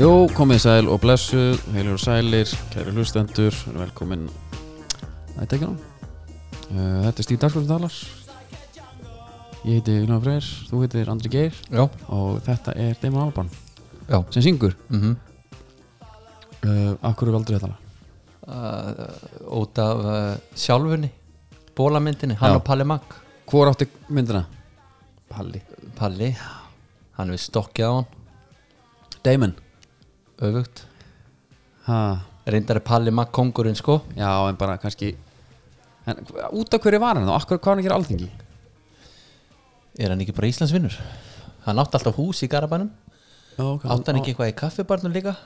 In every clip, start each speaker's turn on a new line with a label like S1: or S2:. S1: Jó, komið sæl og blessuð, heilur og sælir, kæri hlustendur, velkomin að tekjana. Uh, þetta er Stíf Dagsbjörn Dalar, ég heiti Gunnar Freyr, þú heitir Andri Geir
S2: Já,
S1: og þetta er Damon Albarn
S2: já
S1: sem syngur.
S2: mm
S1: Uh, af hverju valdur þetta lag?
S2: uh, Út af uh, sjálfunni Bólamyndinni, hann
S1: Já.
S2: og Palli Mag
S1: Hvor átti myndina?
S2: Palli Palli, hann við stokkið á hann
S1: Damon.
S2: Öfugt
S1: Ha,
S2: Reyndar er Palli Mag kongurinn sko
S1: já, en bara kannski, en, hv- út af hverju var hann þá? Af hverju, hvað var hann að gera alþingi?
S2: Er hann ekki bara Íslandsvinnur? Hann átti alltaf hús í Garabænum
S1: Já, ok.
S2: Átti hann ekki eitthvað í kaffibarnum líka?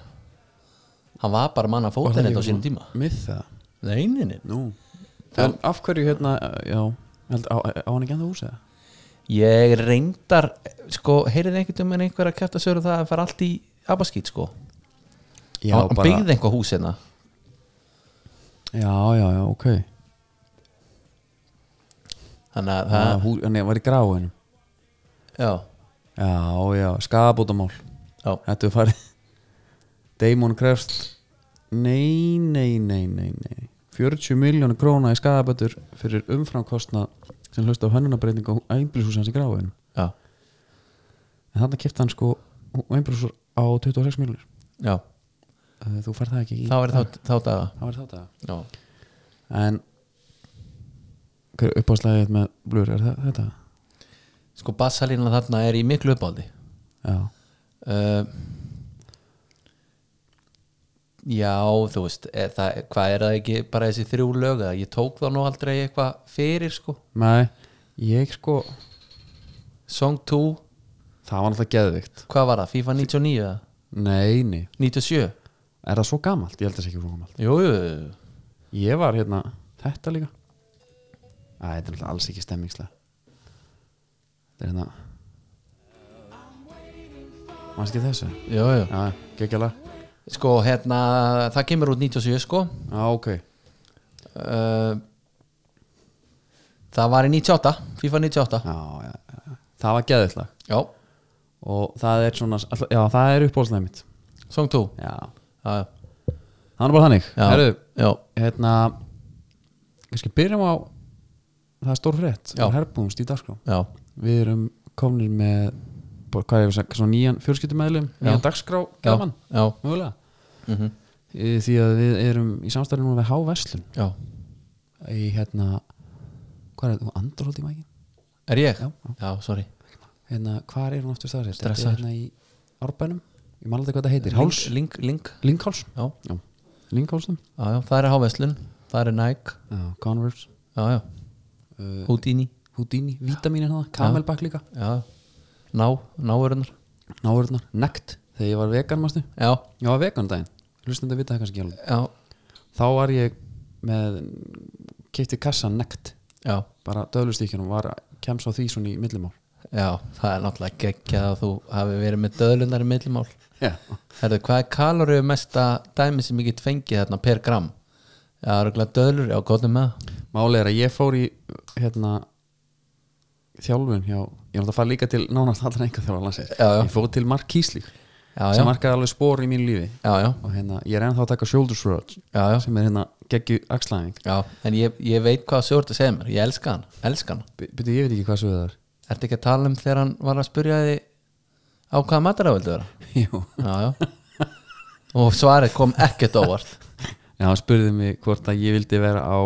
S2: Hann var bara manna
S1: var það
S2: fótinn
S1: ekki
S2: þetta á sínum
S1: svona
S2: tíma
S1: Myth það.
S2: Nei, nei, nei
S1: Nú. En af hverju hérna, uh, já, held, á, á hann ekki ennþá hús eða?
S2: Ég reyndar, sko, heyrið einhvern veginn einhver að kæfta sögur það að fara allt í abaskýt, sko
S1: Já,
S2: Hann
S1: bara-
S2: byggði einhvað hús hérna
S1: Já, já, já, ok
S2: Þannig að
S1: Það
S2: það,
S1: var hú- Nei, var í gráinu
S2: já
S1: Já, já, skabótamál
S2: Já,
S1: Þetta er farið Damon krefst Nei, nei, nei, nei, nei 40 miljónu króna í skabætur fyrir umframkostna sem hlust á hönnunabreitingu á einbílshús hans í gráinu
S2: já,
S1: en þannig kipta hann sko einbílshús á 26 miljónur
S2: já
S1: þú fær það ekki í
S2: Þá er þá, þá daga
S1: það var þátt að
S2: Já,
S1: en hver uppáslæðið með blur er það, þetta?
S2: sko bassalínan þarna er í miklu uppáhaldi
S1: Já,
S2: uh, Já, þú veist er það, Hvað er það ekki bara þessi þrjú lög eða Ég tók þá nú aldrei eitthvað fyrir sko
S1: nei, ég sko
S2: Song 2,
S1: það var náttúrulega geðvikt
S2: hvað var það? FIFA 99 eða?
S1: Nei, nei,
S2: 97
S1: er það svo gamalt? Ég held þess ekki svo gamalt
S2: Jú, jú, jú.
S1: Ég var hérna, þetta líka Æ, þetta er náttúrulega alls ekki stemmingslega Þetta er hérna Manstu ekki þessu?
S2: jú, jú.
S1: Já, geggjala
S2: Sko hérna, það kemur út 97 sko
S1: Já, ok
S2: uh, Það var í 98 FIFA 98
S1: Já, já, já Það var geðvittlega
S2: Já,
S1: Og það er svona, all- já, það er uppbólslega mitt
S2: Song 2
S1: Já,
S2: Já,
S1: það er bara þannig
S2: já.
S1: Herru,
S2: já,
S1: hérna Kannski byrjum á Það er stór frétt
S2: Já.
S1: Herbúðumst í dagskrá
S2: já,
S1: við erum komnir með bara, hvað er það, svona nýjan fjölskyldumæðlum nýjan dagskrá gaman,
S2: já,
S1: mögulega
S2: mm
S1: Mhm. Í- því að við erum í samstæðinu núna við Háverslun
S2: já
S1: í hérna hvað er þetta, andróldi í mækin?
S2: Er ég?
S1: Já,
S2: Já, sorry
S1: Hérna, hvað er hún aftur staðsett? Þetta er
S2: Stressaður.
S1: hérna í árbænum ég man aldrei hvað það heitir, Háls,
S2: Link, link, link.
S1: Linkháls
S2: Já,
S1: já, Linkhálsum,
S2: já, já, það er háveslun Það er Nike,
S1: já, Converse
S2: já, já
S1: uh,
S2: Houdini,
S1: Houdini, Vítamínin hérna, hana, Kamelbakk líka
S2: já Ná, náurinnar
S1: náurðnar, Nekt, þegar ég var vegan mástu,
S2: Já,
S1: ég var vegan um daginn hlustandi að vita það kannski ekki alveg
S2: já,
S1: þá var ég með keipti kassa nekt
S2: já
S1: bara döðlustíkjunum var kemst á því svona í millimál
S2: Já, það er náttúrulega geggjað að þú hafi verið með döðlunar í millimál
S1: já.
S2: Herðu, hvað er kaloríu mesta dæmi sem ég get fengið þarna per gram? Já, það er örugglega döðlur, já, góðum með það
S1: máli er að ég fór í hérna þjálfun hjá, ég náttúrulega fara líka til nánast allra enga þjálfur landsins
S2: Já, já.
S1: ég fór til Mark Kíslík
S2: Já,
S1: sem
S2: já,
S1: markaði alveg spór í mínu lífi
S2: já, já,
S1: og hérna, ég er ennþá að taka shoulder shrugs
S2: já, já.
S1: sem er hérna geggju axlæðing
S2: Já, en ég, ég veit hvað þú ert að segja mér Ég elska hann, elska hann
S1: byrju, ég veit ekki hvað svo það er
S2: Ertu ekki að tala um þegar hann var að spurja því á hvaða matar það vildi vera?
S1: Jú.
S2: Já, já Og svarið kom ekkert óvart
S1: já, hann spurði mig hvort að ég vildi vera á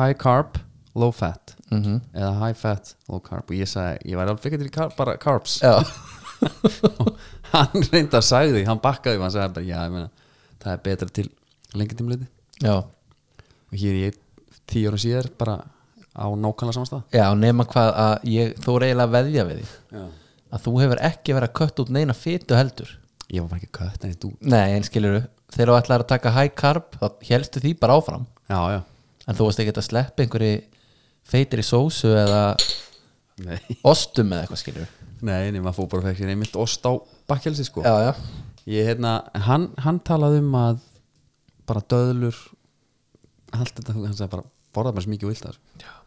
S1: high carb, low fat
S2: mm
S1: eða high fat, low carb og ég sagði, ég væri alveg fyrir í carb, bara carbs
S2: Já,
S1: hann reynda að sagði, því, hann bakkaði og hann sagði bara, já, ég meina, það er betra til lengi tímleiti
S2: já,
S1: og hér er ég tíu ára síðar bara á nákvæmlega samastað
S2: já, nema hvað að ég, þú er eiginlega að veðja við því
S1: já.
S2: að þú hefur ekki verið að kött út neina fytu heldur
S1: ég var bara ekki kött en ég dú
S2: Nei, en skilur þegar þú ætlar að taka high carb þá helstu því bara áfram
S1: já, já,
S2: en þú varst ekki að sleppa einhverju feitir í sósu eða
S1: nei,
S2: ostum eða eitthvað skilur
S1: nei, nei maður fór bara fyrir sér einmitt ost á bakkelsi sko
S2: Já, já,
S1: ég, hérna, hann, hann talaði um að bara döðlur allt þetta, hann sagði bara borða bara sem mikið vilt þar,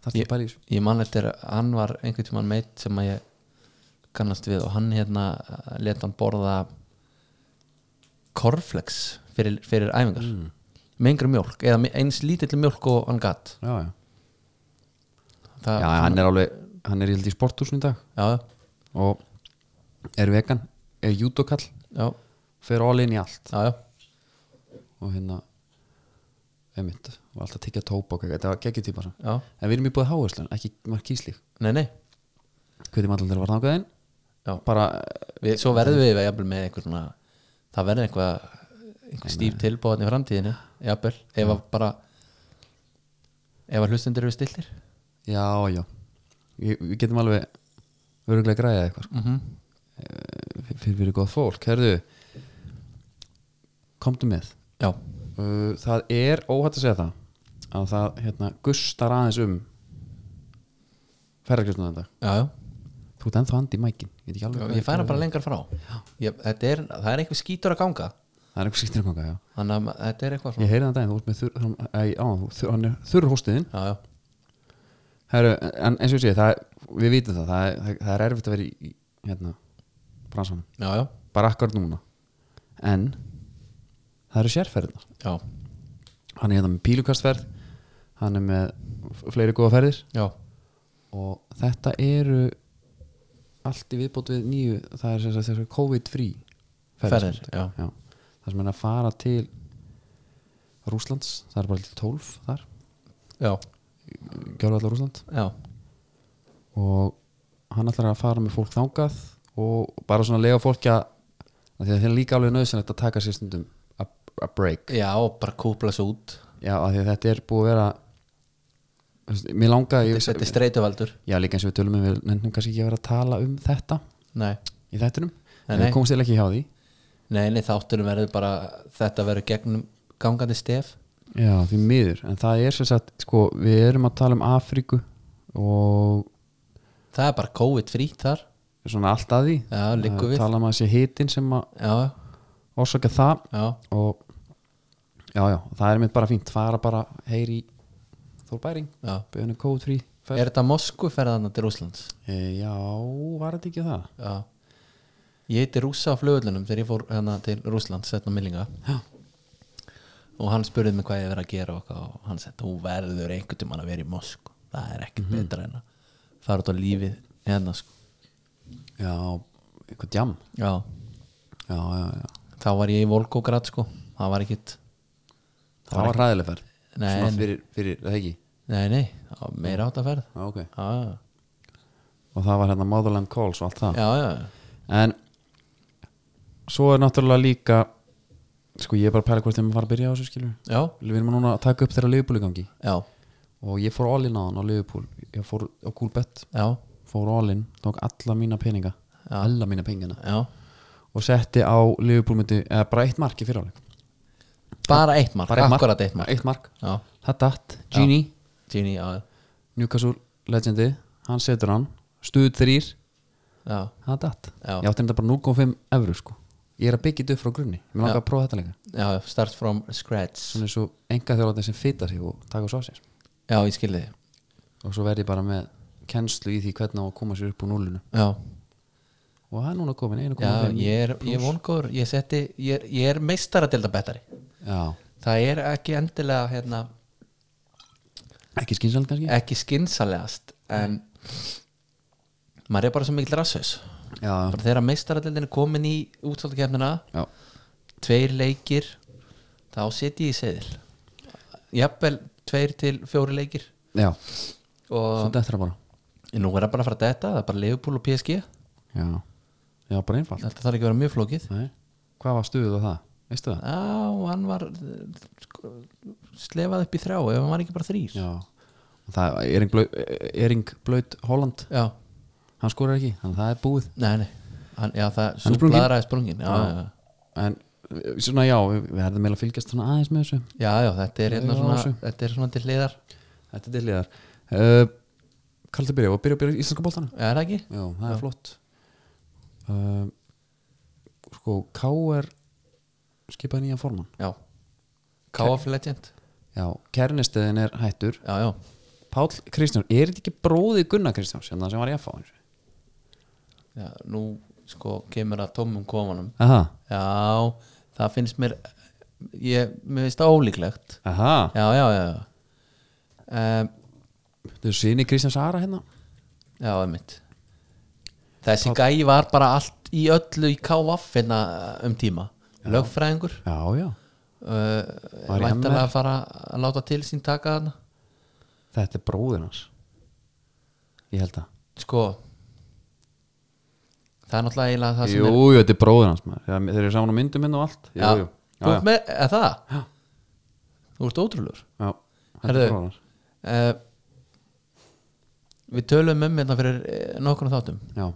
S1: þar til
S2: Ég-
S1: bæli í þessu
S2: ég man eftir að hann var einhvern tímann meitt sem að ég kannast við og hann hérna eh, lét hann borða korflex fyrir, fyrir æfingar með yngri mjólk eða með eins lítill mjólk og hann gatt
S1: já, já.
S2: Það,
S1: já, hann er alveg hann er ég held í sporthúsinu í dag
S2: já,
S1: og er vegan er judokall,
S2: já,
S1: fer all in í allt
S2: já, já,
S1: og hérna einmitt, var alltaf að tekja tópa og þetta var geggjum típa samt.
S2: já,
S1: en við erum í búið háherslun, ekki maður kíslík
S2: nei, nei
S1: hvernig maður til að var þangaðinn
S2: Já.
S1: bara,
S2: við, svo verðum við jafnvel með einhver svona það verður eitthvað einhver stíf tilbúðan í framtíðinu jafnvel, ef að bara ef að hlustendur eru stiltir
S1: já, já við, við getum alveg öruglega græða eitthvað sko.
S2: mm -hmm.
S1: F- fyrir fyrir gott fólk, herðu komdu með
S2: já,
S1: Uh, það er óhætt að segja það að það hérna gustar aðeins um ferðarkjöfnum þetta
S2: já, já
S1: þú ert ennþá andi í mækin ég, veit ekki alveg
S2: Já,
S1: hvað
S2: ég færa
S1: það
S2: bara lengar frá ég, þetta er, það er einhver skítur að ganga
S1: er. það er eitthvað skýttir að um ganga, já
S2: þannig að ma- þetta er eitthvað svona
S1: ég heyrði þann daginn, þú ert með þurr hann- æ, á, þú- þurr- hann er þurr hóstiðin
S2: já, já,
S1: Heru, en eins og ég segi, það, er- við vitum það það, er- það er erfitt að vera í, í hérna, bransanum,
S2: já, já,
S1: bara akkar núna en það eru sérferðina
S2: já,
S1: hann er hérna með pílukastferð hann er með f- fleiri góða ferðir
S2: já.
S1: og þetta eru allt í viðbót við nýju það er sem sagt þessar COVID-free
S2: ferðir
S1: ferðir.
S2: já.
S1: Já, það sem er að fara til Rúslands, það er bara til 12 þar,
S2: já,
S1: gjörðu allar Rúsland
S2: já,
S1: og hann ætlar að fara með fólk þangað og bara svona lega fólk að af því að það er líka alveg nöðsynlegt að taka sér stundum a, a break
S2: já, og bara kúpla svo út
S1: já, af því að þetta er búið að vera þú veist, mér langaði ég-
S2: þetta er streituvaldur
S1: já, líka eins og við tölum um, við nefnum kannski ekki að vera að tala um þetta
S2: nei,
S1: í þettunum
S2: Nei,
S1: en
S2: nei.
S1: við komumst til ekki hjá því
S2: nei, nei þáttunum verður bara þetta verður gegnum gangandi stef
S1: já, því miður, en það er sem sagt sko, við erum að tala um Afríku og
S2: það er bara COVID frýtt þar
S1: svona allt að því
S2: já, liggum við já,
S1: tala um að sé hitin sem að orsaka það
S2: já,
S1: og já, já, það er mitt bara fínt fara bara heyri í Þórbæring,
S2: já
S1: byrjunni kóð frí
S2: er þetta Moskvu ferðan til Rúslands?
S1: e, já, var þetta ekki það
S2: já ég heiti Rúsa á flugöllunum þegar ég fór hérna til Rúslands setna millinga
S1: Já.
S2: og hann spurði mig hvað ég verið að gera og, eitthvað og hann sagði, þú verður einhvern tímann að vera í Moskvu það er ekkert
S1: Mhm.
S2: betra en að fara út á lífið hérna sko
S1: já, eitthvað jam
S2: já,
S1: já, já, já,
S2: þá var ég í Volgograd sko það var ekkert
S1: það var hræðileg ferð
S2: Nei, en-
S1: svona fyrir, fyrir, það ekki
S2: nei, nei, það var meira átt að ferð
S1: já, okay.
S2: já, já,
S1: og það var hérna Motherland Calls og allt það
S2: já, já,
S1: en svo er náttúrulega líka sko ég er bara að pæla hvort þeim að fara að byrja á þessu skilur
S2: já,
S1: við erum núna að taka upp þeirra Liverpool í gangi
S2: já,
S1: og ég fór all-in á hann á Liverpool ég fór á cool bet,
S2: já,
S1: fór all-in tók alla mína peninga
S2: Já.
S1: alla mína pengina
S2: já.
S1: og setti á Liverpool myndi, eða bara eitt mark í fyrirháleik
S2: bara eitt mark,
S1: Bara eitt mark.
S2: akkurat eitt mark
S1: eitt mark,
S2: já,
S1: það datt, Genie
S2: Gini, já,
S1: Newcastle legendi, hann setur hann stuð þrýr,
S2: já
S1: það datt
S2: Já.
S1: ég átti þetta bara 0,5 evru sko ég er að byggja þetta upp frá grunni, ég mér langar að prófa þetta líka
S2: Já, start from scratch
S1: svona eins og enga þjóðarnir sem fita sig og taka svo á sér
S2: Já, ég skilði þig
S1: og svo verði ég bara með kennslu í því hvernig á að koma sér upp úr núlinu
S2: Já,
S1: og það er núna komin einu
S2: já
S1: komin
S2: ég er, ég er vongóður ég, seti, ég, er, ég er meistara delta bettari
S1: já,
S2: Það er ekki endilega hérna,
S1: ekki skynsald kannski
S2: ekki skinsalegast en maður er bara svo mikil rassus
S1: já,
S2: bara þegar meistaradeldin er komin í útsaldakefnina
S1: já,
S2: tveir leikir þá setji ég í seðil jafnvel tveir til fjóri leikir
S1: já,
S2: og
S1: svo þetta bara
S2: nú er það bara að fara að detta það er bara Leopold og PSG
S1: já, já, bara einfalt
S2: þetta þarf ekki að vera mjög flókið
S1: Nei. hvað var stuðuð á það, veistu það?
S2: Já, hann var eh, sko, slefað upp í þrjá ef hann var ekki bara þrýr
S1: já, og það er Ering Blaut, eh, Ering Blaut Holland
S2: já.
S1: hann skorar ekki, þannig að það er búið
S2: nei, nei hann, Já, það,
S1: Hann
S2: svo
S1: er sprunginn?
S2: bladraði sprungin já, já,
S1: en eh, svona já, við við verðum meðlega að fylgjast svona aðeins með þessu
S2: já, já, þetta er hérna
S1: Já,
S2: svona
S1: þessu.
S2: þetta er svona til hliðar
S1: þetta er til í þar uh, Kaldur byrja, og byrja að byrja í íslenska bóltana
S2: Já, er það ekki?
S1: Já, það er flott uh, Sko, K er skipaði nýjan formann
S2: Já K.F. Legend
S1: Já, kærnisteðin er hættur
S2: Já, já,
S1: Páll Kristján, er þetta ekki bróði Gunnar Kristjáns hérna sem var í FH eins og?
S2: já nú sko kemur að tómum komanum
S1: Aha,
S2: Já, það finnst mér ég, mér finnst það ólíklegt
S1: Aha,
S2: já, já, já, já um,
S1: þetta er síni Kristján Sara hérna
S2: já, einmitt þessi gæi var bara allt í öllu í KVF hérna um tíma lögfræðingur
S1: Já, já,
S2: uh,
S1: Var í
S2: væntanlega
S1: MR?
S2: að fara að láta til sín taka þarna
S1: þetta er bróðin hans Ég held það
S2: sko það er náttúrulega eiginlega það sem
S1: Jú, jú, þetta er bróðin hans maður. Já, Þeir eru saman á myndum minn og allt Jú,
S2: er
S1: jú,
S2: Þú
S1: já,
S2: ert með, er það?
S1: Já.
S2: þú ert ótrúlegur
S1: já, já Þetta
S2: Herðu.
S1: er bróðir hans
S2: uh, við tölum um hérna fyrir eh, nokkrum þáttum
S1: Já,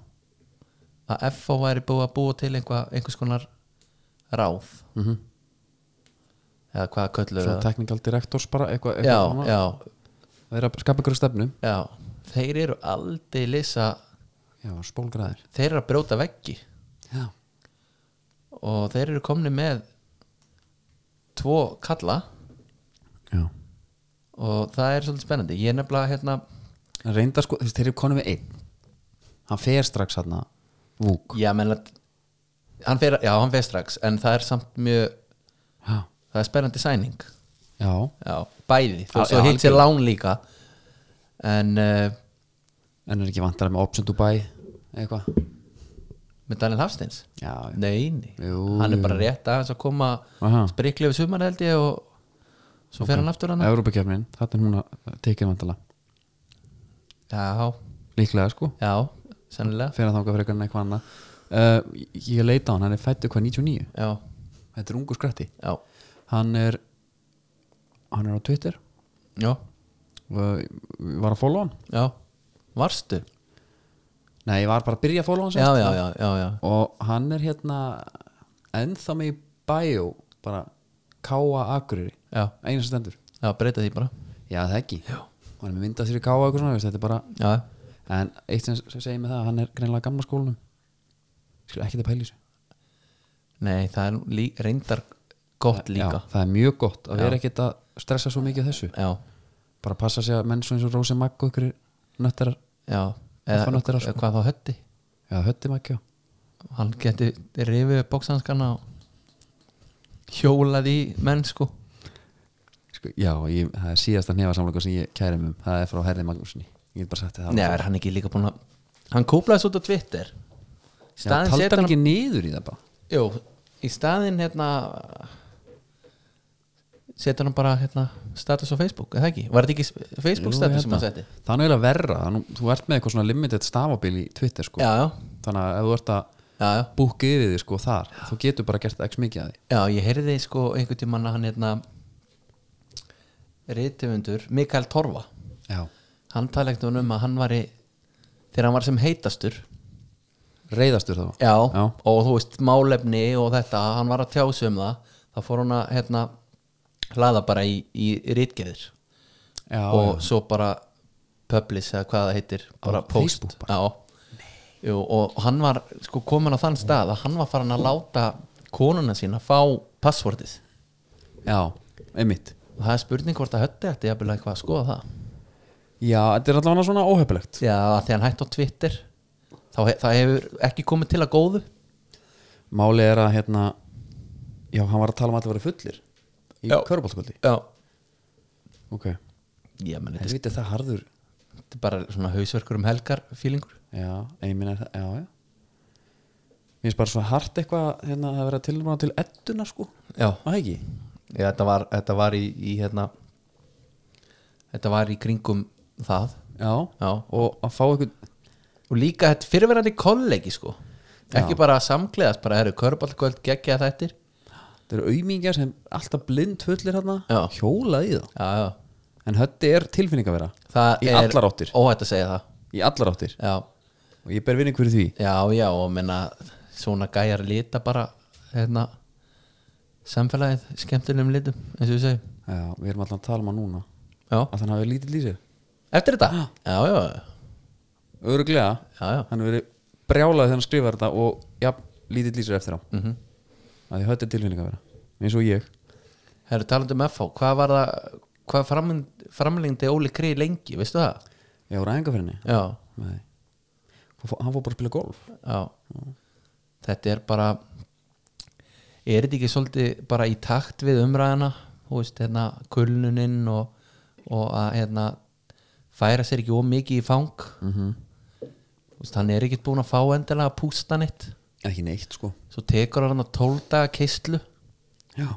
S2: að FO væri búið að búa til einhva, einhvers konar ráð
S1: mm
S2: eða hvað kölluðu
S1: svona
S2: það
S1: teknikal direktors bara eitthvað
S2: já,
S1: eitthvað svona.
S2: já,
S1: Það er að skapa ykkur stefnu
S2: já, þeir eru aldrei lisa
S1: Já, spólgræðir
S2: þeir eru að brjóta veggi
S1: Já,
S2: og þeir eru komni með tvo kalla
S1: já
S2: og það er svolítið spennandi ég er nefnilega hérna
S1: En reynda sko, þú veist, þeir eru konum við einn Hann fer strax hérna Vúk
S2: já, menn, að- hann fer, já, hann fer strax en það er samt mjög
S1: Já,
S2: það er spennandi sæning
S1: já,
S2: já, bæði, þú
S1: Já,
S2: veist, svo
S1: já,
S2: hitt sér lán líka en uh,
S1: en er ekki vantar með Option Dubai Eitthvað
S2: með Daniel Hafsteins
S1: Já, já,
S2: nei, nei.
S1: Jú,
S2: hann er
S1: jú.
S2: bara rétt aðeins að koma
S1: Aha.
S2: sprikli við sumar held ég og svo fer hann aftur hann
S1: Evrópakefnin, þetta er hún að eh, tekið vantala
S2: já,
S1: Líklega sko,
S2: já, sennilega
S1: fer að þanga frekar en eitthvað annað uh, Ég leita á hann, hann er fættu hvað 99
S2: já,
S1: Þetta er ungu skrætti
S2: já,
S1: Hann er Hann er á Twitter
S2: já,
S1: og ég var að follow hann
S2: já varstu,
S1: Nei, ég var bara að byrja að follow hann sem
S2: já,
S1: sagt.
S2: já, já, já, já.
S1: og hann er hérna ennþá með í bæjó bara káa akureyri
S2: já,
S1: eina sem stendur
S2: já, breyta því bara
S1: já það ekki já. hann er með myndað sér í káa eitthvað svona veist, þetta er bara
S2: já,
S1: en eitt sem sem segir mig það hann er greinlega gamla skólanum skil ekki þetta pæli þessu
S2: Nei, það er lí, reyndar gott líka
S1: já, það er mjög gott að vera ekkert að stressa svo mikið á þessu
S2: Já,
S1: bara passa sig að menn svo eins og Rósi Magg og ykkur nötterar
S2: já,
S1: fann
S2: eða,
S1: þetta
S2: eða hvað þá hötti
S1: já hötti Magg já
S2: Hann geti rifið upp bóksanskana og hjólað í menn sko
S1: sko, já ég, það er síðasta nefarsamlega sem ég kæri mig um það er frá Herði Magnúsinni ég get bara sagt þetta
S2: Nei, er hann ekki líka búin að Hann kúplaði svo út á Twitter
S1: já,
S2: Í staðinn
S1: taldi
S2: setur
S1: hann
S2: hann
S1: ekki niður í það bara
S2: Jú, í staðin hérna setur hann bara hérna status á Facebook, eða ekki? Var þetta ekki
S1: Jú,
S2: Facebook
S1: ég
S2: status
S1: held
S2: sem hann
S1: það.
S2: setti?
S1: Það er eiginlega verra, nú, þú ert með eitthvað svona limited stafabil í Twitter sko
S2: Já, já,
S1: Þannig að ef þú ert að
S2: já, já
S1: búka yfir því sko þar Þú getur bara gert x mikið að því
S2: Já, ég heyrði sko einhvern tímann að hann hérna reytifundur, Mikael Torfa
S1: Já,
S2: hann talegt um að hann var í þegar hann var sem heitastur
S1: reyðastur þá
S2: já,
S1: Já.
S2: og þú veist málefni og þetta, hann var að tjá sig um það þá fór hann að hérna hlaða bara í, í rítgeðir
S1: Já,
S2: og svo bara publish eða hvað það heitir bara
S1: Á
S2: post
S1: Facebook
S2: Já, Jú, og hann var sko komin á þann stað að hann var farin að láta konuna sína fá passvortið
S1: já, einmitt
S2: og það er spurning hvort að hötti ætti jafnvel eitthvað að skoða það
S1: Já, þetta er allavega svona óhefilegt
S2: já, að því hann hætti á Twitter þá he það hefur ekki komið til að góðu
S1: Máli er að hérna Já, hann var að tala um að það voru fullir Í
S2: Já.
S1: köruboltkvöldi
S2: já,
S1: Ok,
S2: já menn, þetta,
S1: þetta er það harður
S2: er- þetta er bara svona hausverkur um helgar fílingur
S1: Já, einminn er það, já, já Mér finnst bara svo hart eitthvað hérna að vera tilnumna til edduna sko
S2: já,
S1: Var Það ekki?
S2: já þetta, var, þetta var í, í hérna þetta var í kringum það
S1: Já,
S2: já,
S1: og að fá einhvern
S2: og líka þetta fyrirverandi kollegi sko ekki bara að samgleðast, bara eru körballkvöld geggja þættir
S1: þetta eru auðmingjar sem alltaf blind fullir
S2: Já.
S1: hérna hjólað í það
S2: já, já,
S1: en hötti er tilfinning að vera
S2: það
S1: Í
S2: er
S1: allar áttir.
S2: óhætt að segja það
S1: í allar áttir
S2: já,
S1: og ég ber vinning fyrir því
S2: Já, já, og menna svona gæjar lita bara hérna samfélagið skemmtilegum litum, eins og við segjum
S1: já, við erum alltaf að tala um hann núna
S2: Já,
S1: að hann hafi lítið lýsir
S2: eftir þetta? Já, já,
S1: öruglega,
S2: já, já,
S1: hann hefur verið brjálað þegar hann skrifar þetta og já, lítið lýsir eftir á mm
S2: Mhm.
S1: -hmm. að því hötti er tilfinning að vera eins og ég
S2: herru talandi um FH hvað var það, hvað framlind, framlingdi Óli Kri lengi, veistu það?
S1: ég voru æfingarferðinni
S2: Já,
S1: Nei. Hann fó- hann fór bara að spila golf
S2: já Þetta er bara er þetta ekki svolítið bara í takt við umræðana þú veist, hérna, kulnuninn og, og að hérna færa sér ekki ómikið í fang mm
S1: Mhm.
S2: -hmm. veist, hann er ekkert búin að fá endilega að pústa neitt
S1: ekki neitt sko
S2: svo tekur hann að tólda keislu
S1: já,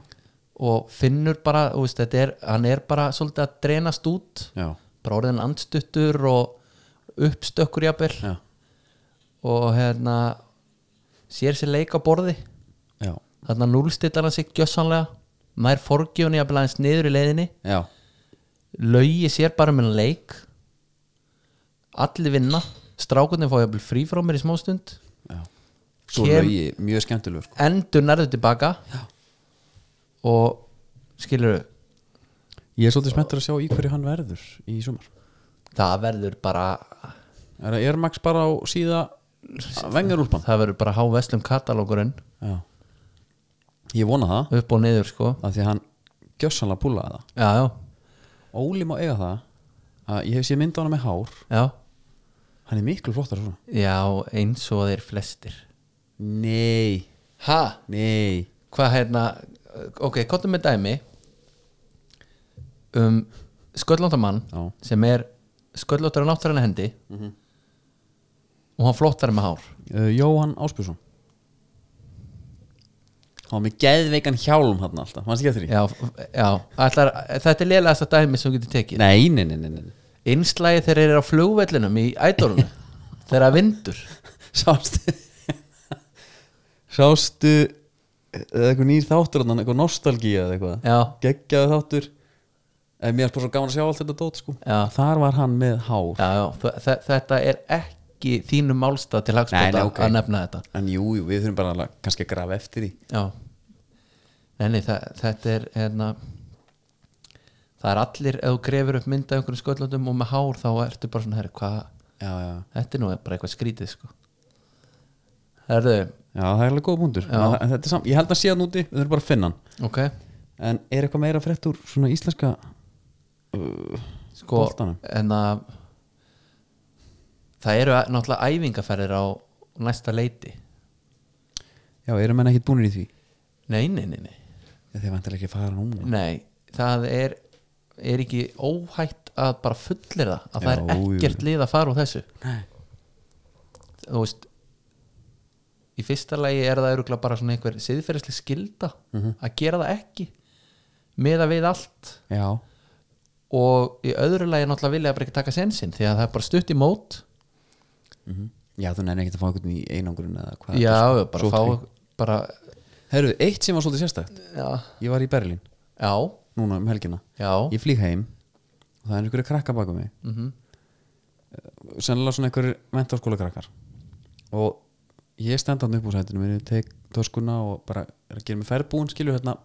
S2: og finnur bara, þú veist, þetta er hann er bara svolítið að drenast út
S1: já,
S2: bara orðin andstuttur og uppstökkur jafnvel
S1: já,
S2: og hérna sér sér leik á borði
S1: já,
S2: þarna núlstillar hann sig gjössanlega maður forgjöfni jafnvel aðeins niður í leiðinni
S1: já.
S2: laugi sér bara með leik allir vinna strákunni fá jafnvel frí frá mér í smástund
S1: já. svo
S2: Kem-
S1: Kem... lögi mjög skemmtilegur sko.
S2: endur nærðu tilbaka Já. og skilur
S1: ég er svolítið spenntur að sjá í hverju hann verður í sumar
S2: það verður bara
S1: er það Air Max bara á síða vengarúlpan
S2: það verður bara háveslum katalókurinn
S1: já ég vona það
S2: upp og niður sko
S1: af því að hann gjössanlega púlaði það
S2: já, já,
S1: Óli má eiga það að ég hef séð mynda hana með hár
S2: já,
S1: hann er miklu flottar svona
S2: já eins og þeir flestir
S1: nei,
S2: ha,
S1: nei
S2: hvað hérna ok, kottum með dæmi um sköllóttamann
S1: Já.
S2: sem er sköllóttar á náttúrulega hendi og hann flottar með hár
S1: uh, Jóhann Áspjússon hann var með geðveikan hjálm hann alltaf, mannst ekki eftir því
S2: já, já ætlar, þetta er lélegasta dæmi sem þú getur tekið
S1: nei, nei, nei, nei, nei.
S2: einslægi þegar þeir eru á flugvellinum í ædólunum þegar það vindur
S1: sástu sástu eða eitthvað nýr þáttur hann, eitthvað nostalgía eða eitthvað
S2: já,
S1: geggjaði þáttur en mér er bara svo gaman að sjá allt þetta dót sko.
S2: Já.
S1: þar var hann með hár
S2: já, já þe- þe- þetta er ekki þínu málstað til
S1: Nei, nei,
S2: hagspóta
S1: ok.
S2: að nefna þetta
S1: en jú, jú, við þurfum bara að, kannski að grafa eftir því
S2: já nei, nei, það, þetta er hérna, það er allir ef þú grefur upp mynda einhverjum sköllundum og með hár þá ertu bara svona herri, hvað,
S1: já, já,
S2: þetta er nú bara eitthvað skrítið sko herðu,
S1: já, það er alveg góð búndur sam... ég held að sé hann úti, við þurfum bara að finna hann
S2: ok
S1: en er eitthvað meira frétt úr svona íslenska uh,
S2: sko,
S1: Boltanum.
S2: en að það eru að- náttúrulega æfingaferðir á næsta leiti
S1: já, eru menn ekkit búinir í því
S2: nei, nei, nei, nei
S1: þeir vantilega ekki að fara núna
S2: Nei, það er er ekki óhætt að bara fullir það að
S1: Já,
S2: það er
S1: jú, jú.
S2: ekkert lið að fara úr þessu
S1: Nei.
S2: þú veist í fyrsta lagi er það öruglega bara svona einhver siðferðisleg skilda
S1: Mhm.
S2: að gera það ekki með að við allt
S1: já,
S2: og í öðru lagi náttúrulega vilja bara ekki taka sensin því að það er bara stutt í mót
S1: já þú nefnir ekkit að fá einhvern í einangurinn eða hvað
S2: já,
S1: þetta
S2: já,
S1: er
S2: bara
S1: svo-
S2: fá
S1: svo trygg.
S2: bara,
S1: herru, eitt sem var svolítið sérstætt
S2: já,
S1: ég var í Berlín,
S2: já,
S1: núna um helgina
S2: já
S1: ég flýg heim og það er einhverju krakka baka mig mm
S2: Mhm.
S1: -hmm. sennilega svona einhverju mentarskóla krakkar og ég stend hann upp úr sætinu minni tek töskuna og bara er að gera mig færbúin skilju hérna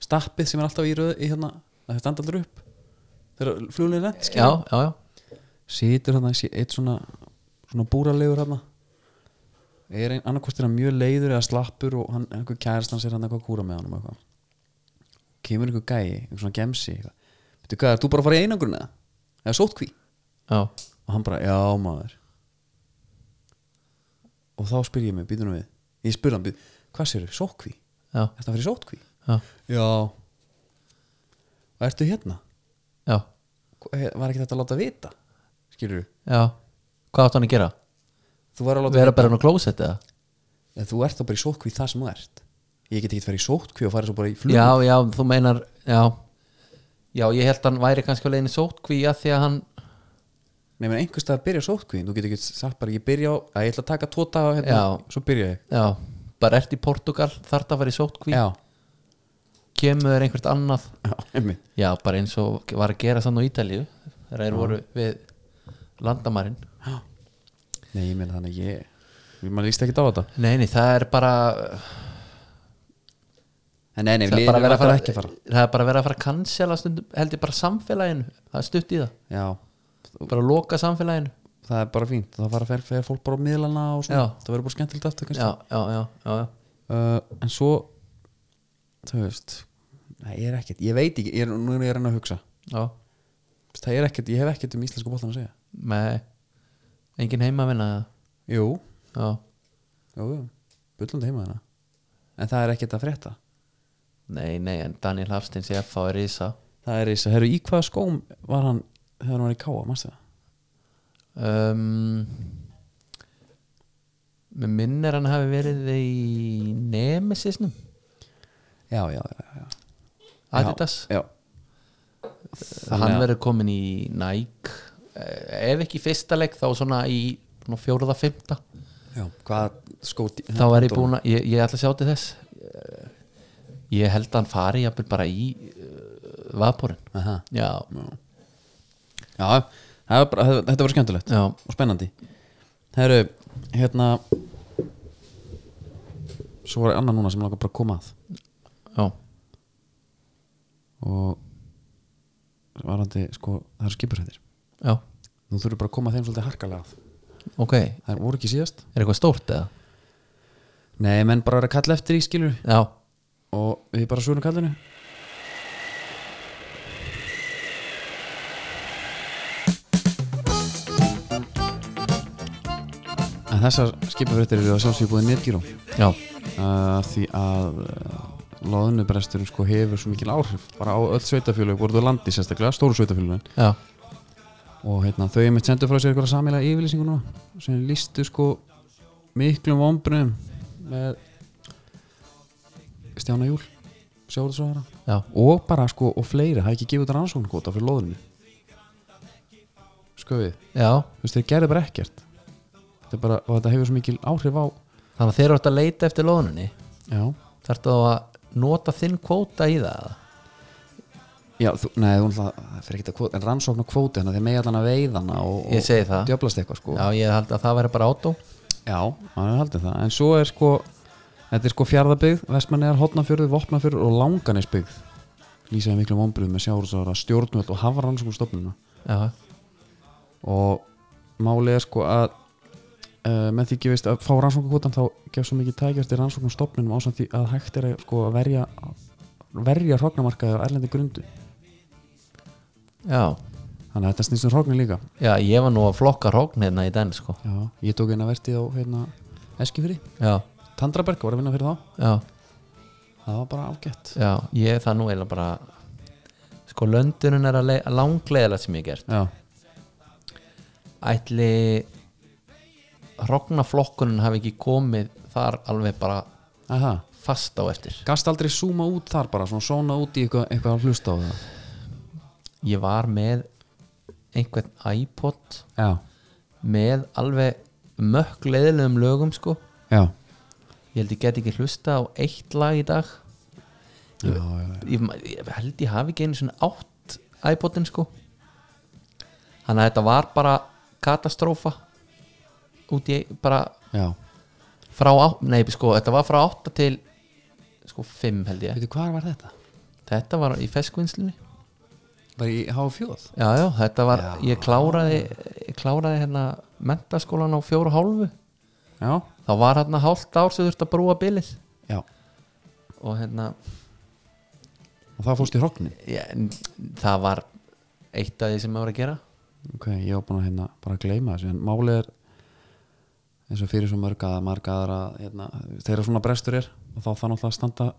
S1: stappið sem er alltaf í röð í hérna það stend allir upp þegar fluglega lent
S2: já,
S1: skilju
S2: já, já,
S1: situr hann eitt svona svona búralegur hann er ein annarkvort er hann mjög leiður eða slappur og hann einhver kærast hann sér hann eitthvað að kúra með hann og eitthvað kemur einhver gæi, einhver svona gemsi eitthvað. veitu hvað, ert þú bara að fara í einangrun eða? eða sótkví?
S2: já,
S1: og hann bara, já maður og þá spyr ég mig, býtum við ég spyr hann, býtum, hvað séru, sótkví?
S2: já,
S1: ertu að fara í sótkví?
S2: já,
S1: já og ertu hérna?
S2: já,
S1: Hva- he- var ekki þetta að láta vita? skilur
S2: já. hvað átt hann að gera?
S1: þú var að láta
S2: vera bara hann á klósett eða?
S1: vita þú ert þá bara í sótkví það sem þú ert ég get ekki fara í sótkví og fara svo bara í flug
S2: já, já, þú meinar já, já, ég held hann væri kannski á leiðinni í sótkví að því að hann
S1: Nei, menn einhvers stað að byrja sótkvíin, þú getur ekki sagt bara ég byrja á, að ég ætla að taka tvo daga hérna,
S2: Já.
S1: svo byrja ég
S2: já, bara ert í Portugal þarft að fara í sótkví,
S1: Já,
S2: kemur þér einhvert annað
S1: já, einmitt
S2: já, bara eins og var að gera sann á Ítalíu þegar þeir voru við landamarinn
S1: Nei, ég meina þannig að ég, ég maður líst ekki á þetta
S2: nei, nei, það er bara
S1: En nei, nei,
S2: það er
S1: liðið
S2: bara verið að fara,
S1: ekki að fara
S2: það er bara verið að fara að cancela stundum, held ég bara samfélaginu það er stutt í það,
S1: Já,
S2: bara að loka samfélaginu
S1: það er bara fínt, það fara fer, fer fólk bara á miðlana og svona,
S2: Já.
S1: það verður bara skemmtilegt aftur kannski
S2: já, já, já, já, já.
S1: uh, En svo, þú veist Nei, ég er ekkert, ég veit ekki, ég er, nú er ég að reyna að hugsa
S2: já.
S1: Það er ekkert, ég hef ekkert um íslensku bóttan að segja
S2: Nei, engin heimavinna eða?
S1: Jú,
S2: Já,
S1: jú, jú, bullandi heima þarna En hérna. það er ekkert að frétta
S2: Nei, nei, en Daniel Hafstein sé að fá er ísa
S1: Það er þess að, herru, í hvaða skóm var hann þegar hann var í káa, mannstu það?
S2: um, Mér minnir hann hafi verið í Nemesisnum
S1: Já, já, já, já.
S2: Adidas
S1: Já,
S2: Hann verður komin í Nike Eh, Ef ekki í fyrsta leik þá svona í svona fjóruða fymta
S1: já. Hvað skó
S2: Þá er ég búin að, ég, ég ætla að sjá til þess Eh, Ég held að hann fari jafnvel bara í uh, Vaporinn
S1: Aha.
S2: Já,
S1: Já, já það var bara, þetta var skemmtilegt
S2: já,
S1: og spennandi Herru, hérna Svo var annar núna sem langar bara að koma að
S2: já
S1: og varandi, sko, það eru skipurhættir
S2: Já,
S1: Nú þurfum bara að koma þeim svolítið harkalega að
S2: ok, er
S1: Það voru ekki síðast
S2: eitthvað stórt eða?
S1: Nei, menn bara er að kalla eftir í skilur
S2: Já,
S1: og við bara svörum kallinu En þessar skipafréttir eru að sjálfsögja búið netgíró
S2: já,
S1: uh, því að uh, loðnubresturinn sko hefur svo mikil áhrif bara á öll sveitafjölu, voruð á landi sérstaklega stóru sveitafjölunin
S2: já,
S1: og hérna, þau einmitt sendu frá sér eitthvað samilega yfirlýsingu núna sem lístu sko miklum vombrunum með Stjána Júl sjáðu svo hérna
S2: já
S1: og bara sko, og fleiri, það er ekki gefið út rannsóknarkota fyrir loðinu sköfið,
S2: Já,
S1: þú veist, þeir gerðu bara ekkert þetta er bara, og þetta hefur svo mikil áhrif á
S2: þannig að þeir eru að leita eftir lóðunni
S1: já,
S2: Þarftu þá að nota þinn kvóta í það eða?
S1: já, þú, nei, þú náttúrulega það fyrir ekki að kvota, en rannsóknarkvota hérna, þeir megi allan að veiðana og,
S2: Ég
S1: og
S2: segi það
S1: djöflast eitthvað sko
S2: Já, ég held að það væri bara átó
S1: Já, maður heldur það En svo er sko, þetta er sko fjárðabyggð Vestmannegar, Hotnafjörður, Vopnafjörður og Langanisbyggð Lýsaði miklu vombriðum með sjáurðsára stjórnvöld og hafa rannsókum stofnuna
S2: Já,
S1: Og málið er sko að uh, með því gefist að fá rannsókukvotan þá gef svo mikið tækjast í rannsókum stofnunum ásamt því að hægt er að, sko, að verja verja hrognamarkaði á erlendi grundu
S2: já,
S1: Þannig að þetta snýst um hrognin líka
S2: já, ég var nú að flokka rógn hérna í den sko
S1: Já, ég tók eina vertið á hérna, Eskifri,
S2: Já,
S1: Tandraberg var að vinna fyrir þá
S2: já,
S1: Það var bara ágætt
S2: já, ég það nú eiginlega bara Sko, löndunin er að le- langleiðlega sem ég hef gert
S1: Já,
S2: Ætli Rognaflokkunin hafi ekki komið þar alveg bara
S1: aha
S2: fast á eftir
S1: Gast aldrei zooma út þar bara, svona svona út í eitthvað, eitthvað að hlusta á það
S2: Ég var með einhvern iPod
S1: Já,
S2: með alveg mökk leiðilegum lögum sko
S1: já,
S2: ég held ég get ekki hlusta á eitt lag í dag
S1: já, já, já.
S2: ég, ég held ég hafi ekki einu svona átt iPodin sko þannig að þetta var bara katastrófa út í bara
S1: já.
S2: frá átt, nei sko þetta var frá 8 til sko 5 held ég
S1: Veitu, hvað var þetta?
S2: þetta var í feskvinnslunni
S1: Bara í háa fjóð
S2: já já þetta var,
S1: Já.
S2: ég kláraði ég kláraði hérna mentaskólan á fjóra og hálfu
S1: Já,
S2: þá var hérna hálft ár sem þurfti að brúa bilið
S1: já,
S2: og hérna
S1: og það fórst í hrognin
S2: Já, en það var eitt af því sem maður var að gera
S1: Ok, ég var búin að hérna bara að gleyma þessu En málið er eins og fyrir svo mörg að marg aðra hérna, þeirra svona brestur er og þá þannig alltaf að standa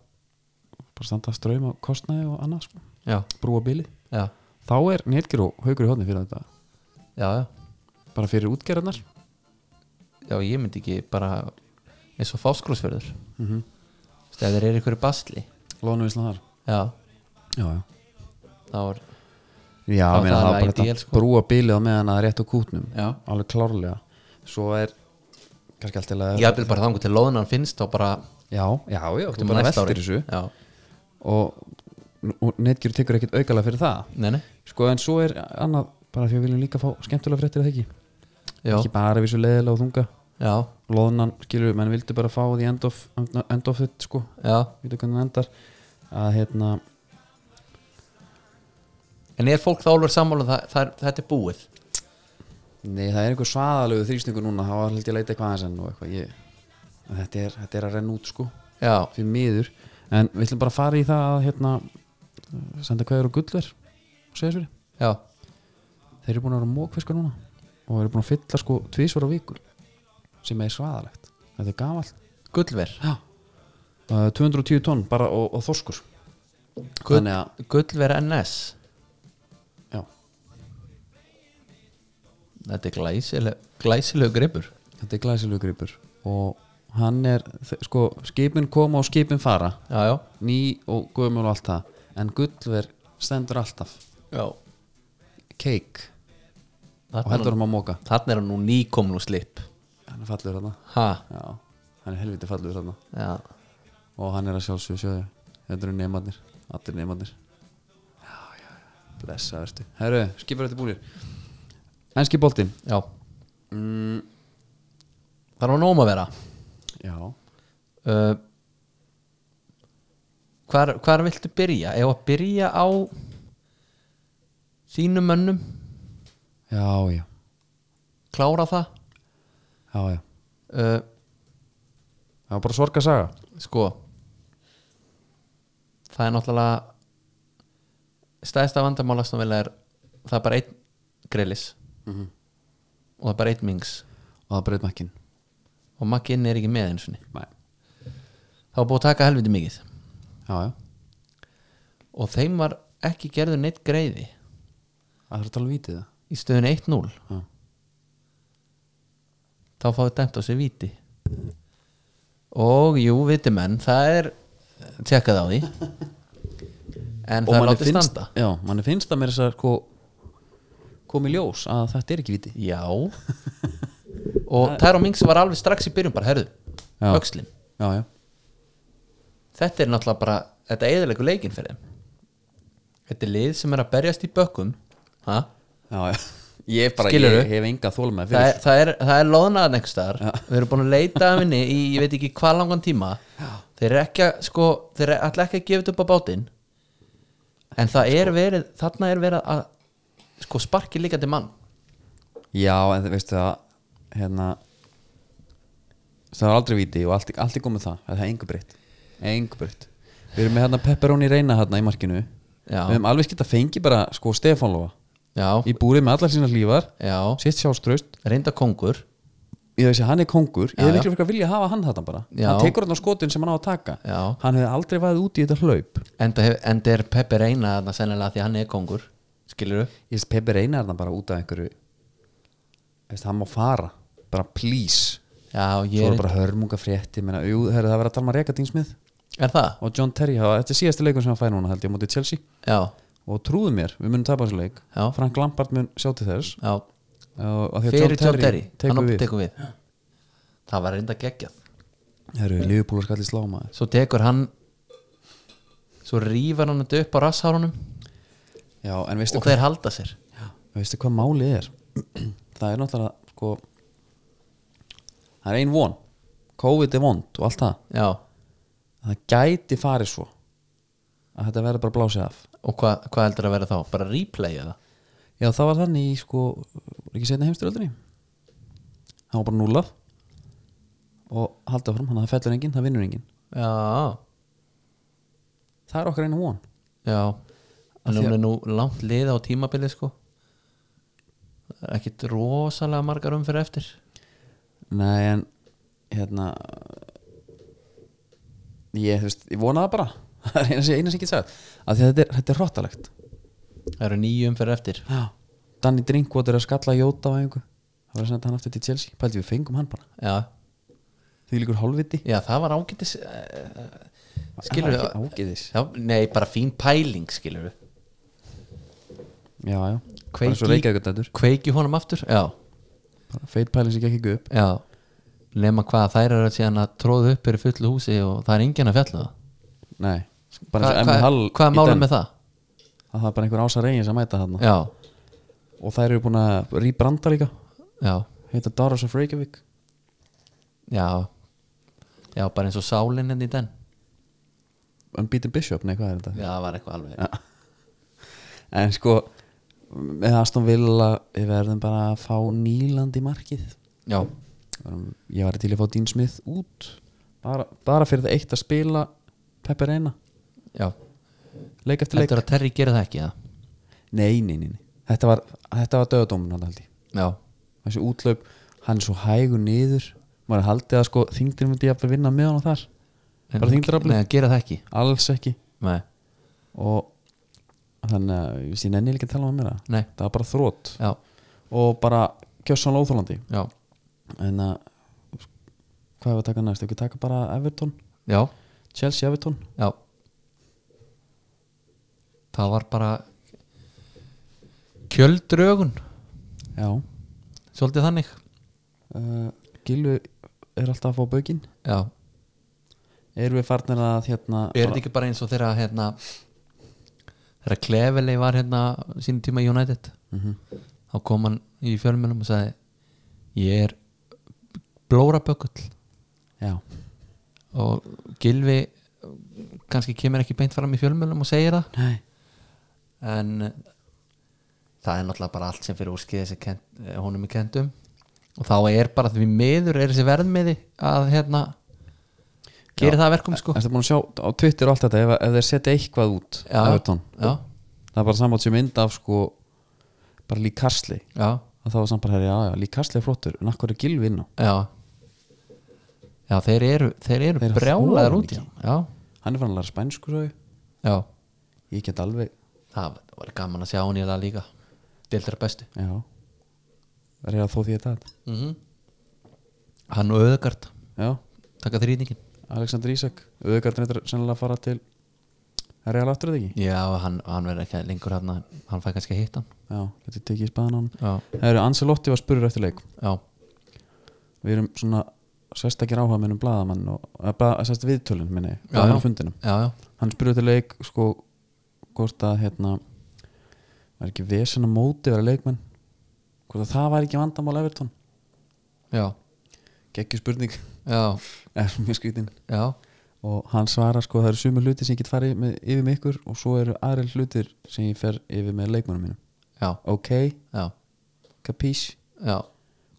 S1: bara standa ströym á kostnaði og annað sko.
S2: já,
S1: brúa bíli
S2: já,
S1: þá er netgir og haugur í hodni fyrir þetta
S2: já, já,
S1: bara fyrir útgerðarnar
S2: já ég myndi ekki bara eins og fáskrúsfjörður
S1: mm -hmm.
S2: Þú veist, ef þeir eru ykkur basli
S1: lónu vislan þar
S2: já,
S1: já, já.
S2: þá var
S1: Já,
S2: Það
S1: það, meina,
S2: er
S1: það var bara
S2: ideal,
S1: þetta
S2: sko.
S1: brúa bílið á meðan að rétt á kútnum
S2: já,
S1: alveg klárlega svo er kannski allt til að
S2: ég vil bara þangu til loðunan finnst þá bara
S1: já, já, já þú
S2: um
S1: bara
S2: næsta ári.
S1: veltir þessu
S2: já,
S1: og, og netgjur tekur ekkert aukala fyrir það
S2: nei, nei,
S1: sko en svo er annað bara því að við viljum líka fá skemmtulega fréttir að það ekki
S2: já,
S1: ekki bara við svo leiðilega og þunga
S2: já,
S1: loðnan skilur við, menn vildi bara fá því end of, end of it sko
S2: já
S1: við hvernig það endar að hérna
S2: en er fólk þá alveg sammála um það, það, er- þetta er búið
S1: Nei, það er einhver svaðalegu þrýstingu núna þá var held ég að leita eitthvað aðeins enn og eitthvað ég, en þetta, er, þetta er að renna út sko
S2: já,
S1: fyrir miður en við ætlum bara að fara í það að hérna, senda kveður og gullver og segja sverið,
S2: já,
S1: þeir eru búin að vera mókfiskar núna og eru búin að fylla sko tvísvara viku sem er svaðalegt þetta er gafallt
S2: gullver
S1: uh, 210 tonn bara og, og þorskur
S2: Gull,
S1: Þannig að-
S2: gull vera NS
S1: Já,
S2: Þetta er glæsileg, glæsileg gripur
S1: þetta er glæsilegu gripur og hann er, þe- sko, skipin koma og skipin fara
S2: Já, já,
S1: ný og gömul og allt það en gullver stendur alltaf
S2: já.
S1: cake og
S2: Þarna,
S1: heldur hann að móka
S2: þarna er hann nú nýkomin úr slip
S1: hann er fallur þarna
S2: Ha,
S1: já, hann er helviti fallur þarna
S2: já
S1: og hann er að sjálfsögðu sjöðu þetta eru nefnarnir, allir nefnarnir já, já, já, blessa verður herru, skipur þetta búinir enski boltinn
S2: Já Þar var nóg um að vera
S1: já,
S2: uh, hvar, hvar viltu byrja? Ef að byrja á þínum mönnum
S1: já, já
S2: klára það
S1: já, já,
S2: uh,
S1: það var bara sorga saga
S2: sko það er náttúrulega stæðsta vandamál aðstofnvel er það er bara einn grillis og það er bara einn mings
S1: og það breyð makkin
S2: og makkinn er ekki með eins og
S1: Nei.
S2: það var búið að taka helviti mikið
S1: já, já,
S2: og þeim var ekki gerður neitt greiði
S1: það þarf að tala um vítið það
S2: í stöðun 1-0
S1: já,
S2: þá fáið dæmt á sig víti og jú, viti menn það er tjekkað á því en það er
S1: manni
S2: látið
S1: finnst,
S2: standa
S1: já, manni finnst það mér þess að sko komi ljós að þetta er ekki viti
S2: já og Tæra Mings var alveg strax í byrjun bara herðu,
S1: Já.
S2: höxlin
S1: já, já,
S2: þetta er náttúrulega bara, þetta er eðilegu leikinn fyrir þeim þetta er lið sem er að berjast í bökkum ha?
S1: já, já. Ég, bara,
S2: Skilurðu?
S1: ég hef enga þólma
S2: það
S1: fyrir
S2: er, það er, það er loðnaðan einhvers staðar við erum búin að leita að minni í ég veit ekki hvað langan tíma þeir eru ekki að sko, þeir eru alltaf ekki að gefa þetta upp á bátinn en það er
S1: Sko.
S2: verið þarna er verið að sko sparki líka til mann
S1: Já, en það veistu það hérna það var aldrei viti og allt, allt er komið það það er engu breytt engu breytt Við erum með hérna pepperoni reyna hérna í markinu
S2: Já.
S1: Við erum alveg skilt að fengi bara sko Stefán Lóa
S2: já,
S1: í búrið með allar sína hlífar
S2: já,
S1: sitt sjálfstraust
S2: reynda kongur
S1: ég veist að hann er kongur ég
S2: Já,
S1: hef
S2: já.
S1: miklu fyrir að vilja hafa hann þarna bara
S2: Já.
S1: hann tekur hann á skotin sem hann á að taka
S2: Já.
S1: hann hefði aldrei væðið út í þetta hlaup
S2: en það hef- enda er Peppi Reina þarna sennilega því að hann er kongur skilur du?
S1: ég veist Peppi reyna þarna bara út af einhverju ég veist hann má fara bara please
S2: Já, ég
S1: svo
S2: er,
S1: er bara hörmunga frétti menna, jú, herri, það verið að tala um að Reka Dingsmið
S2: er það?
S1: og John Terry, hafa, þetta er síðasti leikur sem hann fær núna held ég á móti Chelsea
S2: Já,
S1: og trúðu mér, við munum tapa þessu leik
S2: Já.
S1: Frank Lampard mun sjá til þess
S2: já,
S1: og af því að
S2: fyrir John Terry
S1: tekur
S2: hann
S1: við
S2: tekur við það var reynda geggjað
S1: herru, Liverpool er skallið slá maður
S2: svo tekur hann svo rýfar hann þetta upp á rasshárunum
S1: já, en veistu,
S2: og þeir halda sér
S1: hva, veistu hvað málið er það er náttúrulega sko, það er ein von COVID er vond og allt það
S2: já,
S1: það gæti farið svo að þetta verður bara blásið af
S2: og hva, hvað heldur að vera þá? bara replaya það
S1: já það var þannig í sko var ekki setna heimstyröldinni hann var bara núlaf og haldið áfram, hann að það fellur enginn, það vinnur enginn
S2: já,
S1: það er okkar einu von
S2: já en hún er nú langt liða á tímabilið sko Það er ekkit rosalega margar umfyrir eftir
S1: nei en hérna ég, þú veist, ég vona það bara það er eina sem, eina sem ég get sagt að því að þetta er, þetta er rottalegt
S2: það eru nýju umfyrir eftir
S1: já. Danny Drinkwater er að skalla Jóta á einhver það var að senda hann aftur til Chelsea pældi við fengum hann bara,
S2: já,
S1: því líkur hálfviti
S2: já það var ágætis uh, skilur
S1: Það
S2: við
S1: var ekki ágæðis
S2: já, nei, bara fín pæling skilur við
S1: já, já, bara eins og
S2: Kveiki-
S1: reykjaðu þetta
S2: kveiki honum aftur, já
S1: bara feit pæling sem gekk ekki upp
S2: Já, nema hvað þær eru síðan að tróðu upp fyrir fullu húsi og það er enginn að fjalla það
S1: nei, bara eins og
S2: Hva-
S1: Emmi Hall
S2: Hvað hvað er
S1: í
S2: málum
S1: den-
S2: með það?
S1: að það er bara einhver ása reygin sem mæta þarna
S2: Já,
S1: og þær eru búin að rýbranda líka
S2: já,
S1: heita Doros of Reykjavík
S2: já Já, bara eins og sálinn henni í den
S1: Unbeaten Bishop, nei hvað er þetta
S2: Já, það var eitthvað alveg
S1: Já. en sko með Aston Villa við verðum bara að fá Nýland í markið
S2: Já,
S1: Um, ég var til að fá Dean Smith út bara, bara fyrir það eitt að spila Pepper Reina,
S2: já
S1: leik eftir leik
S2: Þetta er að Terry gera það ekki, já
S1: nei, nei, nei, nei, þetta var, þetta var döðadómin hann held ég
S2: Já,
S1: þessi útlaup, hann er svo hægur niður maður er haldið að sko þingdir myndi ég að vinna með hann og þar bara
S2: En-
S1: þingdrafli,
S2: Nei, gera það ekki
S1: alls ekki
S2: Nei
S1: og þannig að ég sé nenni líka að tala um meira
S2: Nei,
S1: það er bara þrótt
S2: já,
S1: og bara kjössanlega óþólandi
S2: já,
S1: en að hvað hefur að taka næst, ekki taka bara Everton
S2: já,
S1: Chelsea Everton
S2: já Það var bara kjöldrögun
S1: já,
S2: svolítið þannig
S1: uh, Gilvi er alltaf að fá baukinn
S2: Já,
S1: erum við farnir að hérna
S2: er þetta ekki bara eins og þeirra hérna þeirra klefilegi var hérna sínum tíma í United
S1: Mhm.
S2: þá kom hann í fjölmjölum og sagði ég er blórabökull
S1: já,
S2: og Gilvi kannski kemur ekki beint fram í fjölmjölum og segir það
S1: nei,
S2: en eh, það er náttúrulega bara allt sem fyrir úrskið þessi kent, eh, honum í kendum og þá er bara því miður er þessi verðmiði að hérna gera það að verkum sko
S1: ertu búin að sjá á Twitter og allt þetta ef, ef þeir setja eitthvað út
S2: Já.
S1: Everton,
S2: já,
S1: það er bara samátt sem mynd af sko, bara lík karsli
S2: já,
S1: og það var samt bara, herri, já, já, lík karsli er flottur en akkur er Gilvi inn á,
S2: já já, þeir eru, þeir eru
S1: Þeir
S2: brjálaðar
S1: þola
S2: út í hann. já,
S1: hann er fann að læra spænsku svo
S2: já,
S1: ég get alveg,
S2: það var gaman að sjá hann í það líka deildra bestu
S1: já er ég að þó því að þetta
S2: mm hann og Öðegard
S1: já,
S2: taka þrýningin
S1: Alexander Isak auðvitað er sennilega að fara til er ég alveg aftur eða ekki?
S2: já, hann, hann verður ekki lengur hérna hann fæ kannski að hitta hann
S1: já, getur tekið í spæðan á hann
S2: já,
S1: það eru Ancelotti var spurur eftir leik
S2: já,
S1: við erum svona sérstakir áhuga minnum blaðamann og sérstakir viðtölun minni
S2: Já, já.
S1: blaðamannfundinum
S2: já, já,
S1: hann spurur eftir leik sko hvort að hérna var ekki vesen að móti vera leikmenn hvort að það var ekki vandamál Everton
S2: já,
S1: geggjur spurning
S2: já.
S1: er mjög skrítin
S2: Já,
S1: og hann svarar sko það eru sumur hluti sem ég get farið með, yfir með ykkur og svo eru aðri hlutir sem ég fer yfir með leikmennum mínum
S2: já,
S1: ok,
S2: já,
S1: kapís
S2: já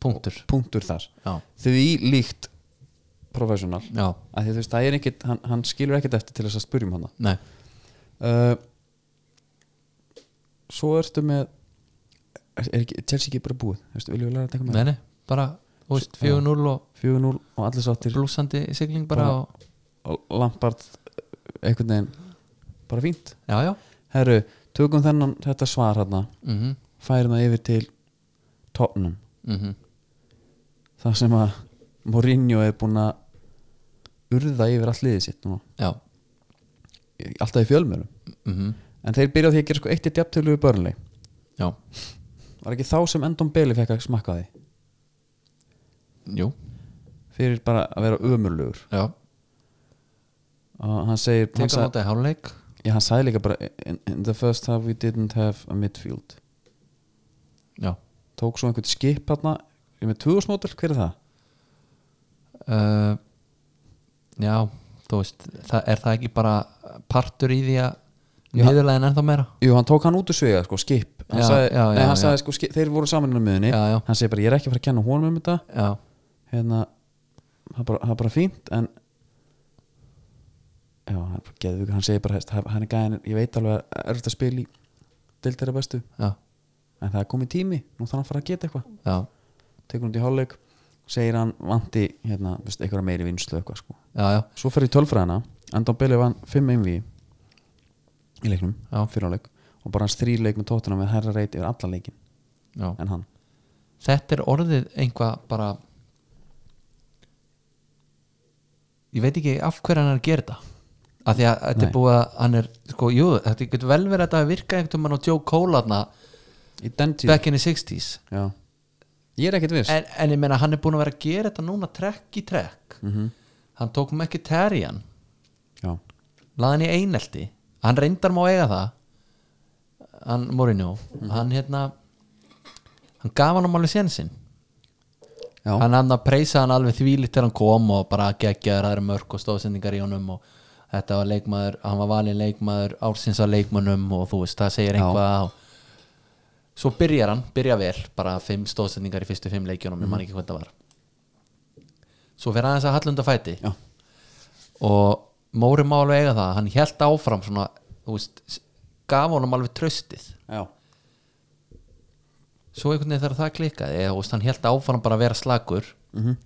S2: Punktur
S1: punktur þar
S2: Já,
S1: því líkt professional
S2: já,
S1: að því þú veist, það er ekkit, hann, hann skilur ekkit eftir til þess að spyrjum hann
S2: nei
S1: uh, svo ertu með er, er ekki, Chelsea ekki bara búið Þú veist, viljum við læra að taka með
S2: Nei, nei, bara, þú veist, 4-0 og
S1: 4-0 og allir sáttir
S2: blúsandi sigling bara
S1: Bara-
S2: og,
S1: og Lampard einhvern veginn bara fínt
S2: Já, já,
S1: herru, tökum þennan þetta svar hann
S2: mhm,
S1: færum það yfir til Tottenham
S2: mhm
S1: það sem að Mourinho er búinn að urða yfir allt liðið sitt núna
S2: Já,
S1: í- alltaf í fjölmjörnum
S2: mhm,
S1: en þeir byrja á því að gera sko eitt í djaptölu við börnleg
S2: já,
S1: var ekki þá sem Endon Bailey fekk að smakka því
S2: jú,
S1: fyrir bara að vera ömurlugur
S2: já
S1: og hann segir hann,
S2: Tekur
S1: sag,
S2: mótið háluleik
S1: já, hann sagði líka bara in, in the first half we didn't have a midfield
S2: Já,
S1: tók svo einhvern skip hann ég með tvöðusmótil, hver er það?
S2: uh, já, þú veist það, Er það ekki bara partur í því að
S1: Já.
S2: niðurlegin ennþá meira?
S1: Jú, hann tók hann út úr svega, sko, skip hann
S2: Já,
S1: sagði,
S2: já,
S1: nei,
S2: já,
S1: hann
S2: já.
S1: sagði sko, skip, þeir voru saman innan miðunni
S2: Já, já,
S1: hann segir bara, ég er ekki að fara að kenna honum um þetta
S2: já,
S1: hérna, það er bara, það er bara fínt en já, hann er bara geðvík hann segir bara, hefst, hann er gæðin, ég veit alveg að er þetta spil í deildara bestu
S2: já,
S1: en það er komið tími, nú þarf hann að fara að geta eitthvað
S2: já,
S1: tekur hann til hálfleik segir hann vanti, hérna, veist, eitthvað meiri vinslu eitthvað sko,
S2: já, já,
S1: svo fer ég tölfræðina Andón Beli vann 5 einví í leiknum,
S2: Já.
S1: fyrir hálfleik og bara hans þrý leik með tóttina með herra reyt yfir allan leikin
S2: já.
S1: en hann,
S2: þetta er orðið einhvað bara ég veit ekki af hverju hann er að gera þetta af því að þetta
S1: Nei.
S2: er búið að hann er sko, jú, þetta getur vel verið að þetta hafi virkað einhvern veginn á Joe Cole hana
S1: í den tíð
S2: back in the 60s
S1: já, ég er ekkert viss
S2: en, en ég meina hann er búin að vera að gera þetta núna trekk í trekk
S1: Mhm.
S2: hann tók með ekki terjan
S1: já,
S2: laði hann í einelti hann reyndar má eiga það hann Mourinho hann hérna hann gaf hann um alveg sénsinn
S1: já,
S2: hann hann að preysa hann alveg þvílitt þegar hann kom og bara geggjaður aðra mörg og stóðsendingar í honum og þetta var leikmaður, hann var valinn leikmaður ársins að leikmönnum og þú veist, það segir
S1: Já.
S2: einhvað og... svo byrjar hann, byrja vel bara fimm stóðsendingar í fyrstu fimm leikjunum
S1: Mhm.
S2: ég man ekki hvernig það var svo fer aðeins að hallunda fæti
S1: já,
S2: og Móri má alveg eiga það, hann held áfram svona, þú veist, s- gaf honum alveg tröstið
S1: já.
S2: svo einhvern veginn þegar það klikkaði eða, þú veist, hann held áfram bara að vera slagur
S1: Mhm.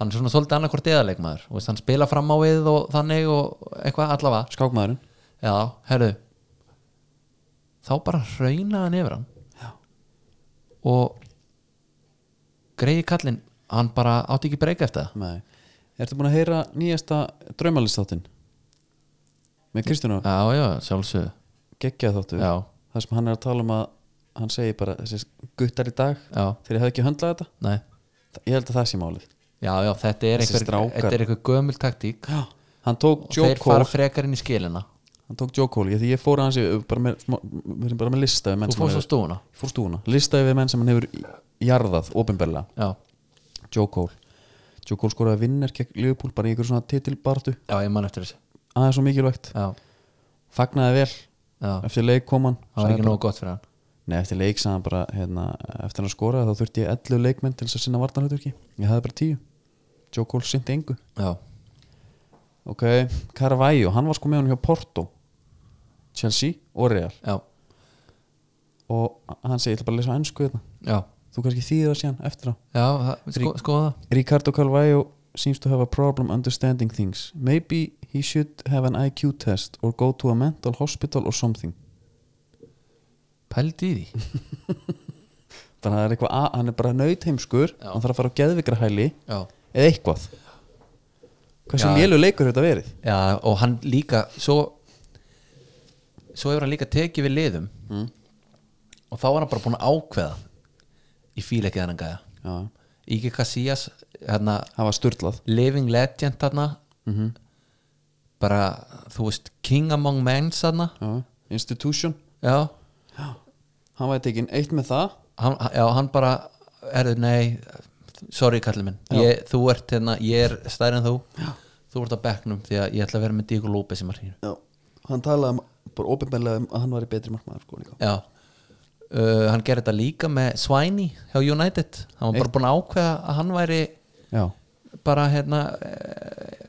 S2: hann er svona svolítið annarkvort eðaleikmaður veist, hann spila fram á við og þannig og eitthvað allavega
S1: skákmaðurinn
S2: já, herru þá bara hrauna hann yfir hann
S1: Já.
S2: og greiði kallinn hann bara átti ekki breyka eftir það
S1: Nei. Ertu búin að heyra nýjasta draumalistáttin? Með Kristján og
S2: já, já, sjálfsögðu
S1: geggja þáttu
S2: já,
S1: Það sem hann er að tala um að hann segir bara þessi guttar í dag
S2: já,
S1: þegar ég hafði ekki höndlað þetta
S2: nei
S1: Þa- Ég held að það sé málið
S2: já, já, þetta er
S1: Þessi
S2: einhver,
S1: strákar.
S2: þetta er einhver gömul taktík
S1: Já. Hann tók
S2: og
S1: Joe
S2: þeir
S1: Cole
S2: fara frekar inn í skilina
S1: Hann tók Joe Cole, ég, því ég fór hans yfir, bara með, smá- við erum bara með lista yfir menn
S2: þú
S1: sem hann
S2: fórst á
S1: hefur-
S2: stúfuna
S1: Ég fór stúna, lista yfir menn sem hann hefur jarðað, opinberlega
S2: já,
S1: Joe Cole Joe Cole skoraði vinner gegn Liverpool bara í ykkur svona titilbartu
S2: já, ég man eftir þessu
S1: aðeins svo mikilvægt,
S2: já,
S1: fagnaði vel
S2: já,
S1: eftir leik kom hann
S2: það var
S1: Sagði
S2: ekki
S1: bara-
S2: nógu gott fyrir hann
S1: Nei, eftir leik sagði hann bara hérna, eftir hann skoraði þá þurfti ég 11 leikmenn til þess að sinna vartanhauturki ég hafði bara 10 Joe Cole sinti engu
S2: já,
S1: ok, Carvalho, hann var sko með hann hjá Porto Chelsea og Real
S2: já,
S1: og hann segi, ég ætla bara að lesa á ennsku þetta
S2: já
S1: þú kannski þýðir það síðan eftir á
S2: já, það- sko, skoða það
S1: Ricardo Carvalho seems to have a problem understanding things. Maybe he should have an IQ test or go to a mental hospital or something.
S2: pældi í því
S1: Þannig að það er eitthvað, að, hann er bara nautheimskur,
S2: Já.
S1: hann þarf að fara á geðvikra hæli
S2: já
S1: eða eitthvað. Hversu
S2: Já.
S1: mjölu leikur hefur þetta verið?
S2: Já, og hann líka svo, svo hefur hann líka tekið við liðum og þá var hann bara búin að ákveða í fíl ekki þennan gæja
S1: Já,
S2: Ígi Casillas hérna,
S1: það var sturlað.
S2: living legend þarna
S1: Mhm.
S2: bara, þú veist, king among men þarna,
S1: Já. Institution,
S2: já
S1: hann var tekinn eitt með það.
S2: hann, já, hann bara erðu, nei, sorry kallið minn
S1: Já.
S2: ég, þú ert hérna, ég er stærri en þú já. þú ert á bekknum því að ég ætla að vera með Díko López í markinu
S1: Já, hann talaði um, bara ofinbæðlega um að hann var í betri markmaður sko líka.
S2: Já uh, Hann gerði þetta líka með Svæni hjá United Hann var bara búin að ákveða að hann væri
S1: Já,
S2: bara hérna eh,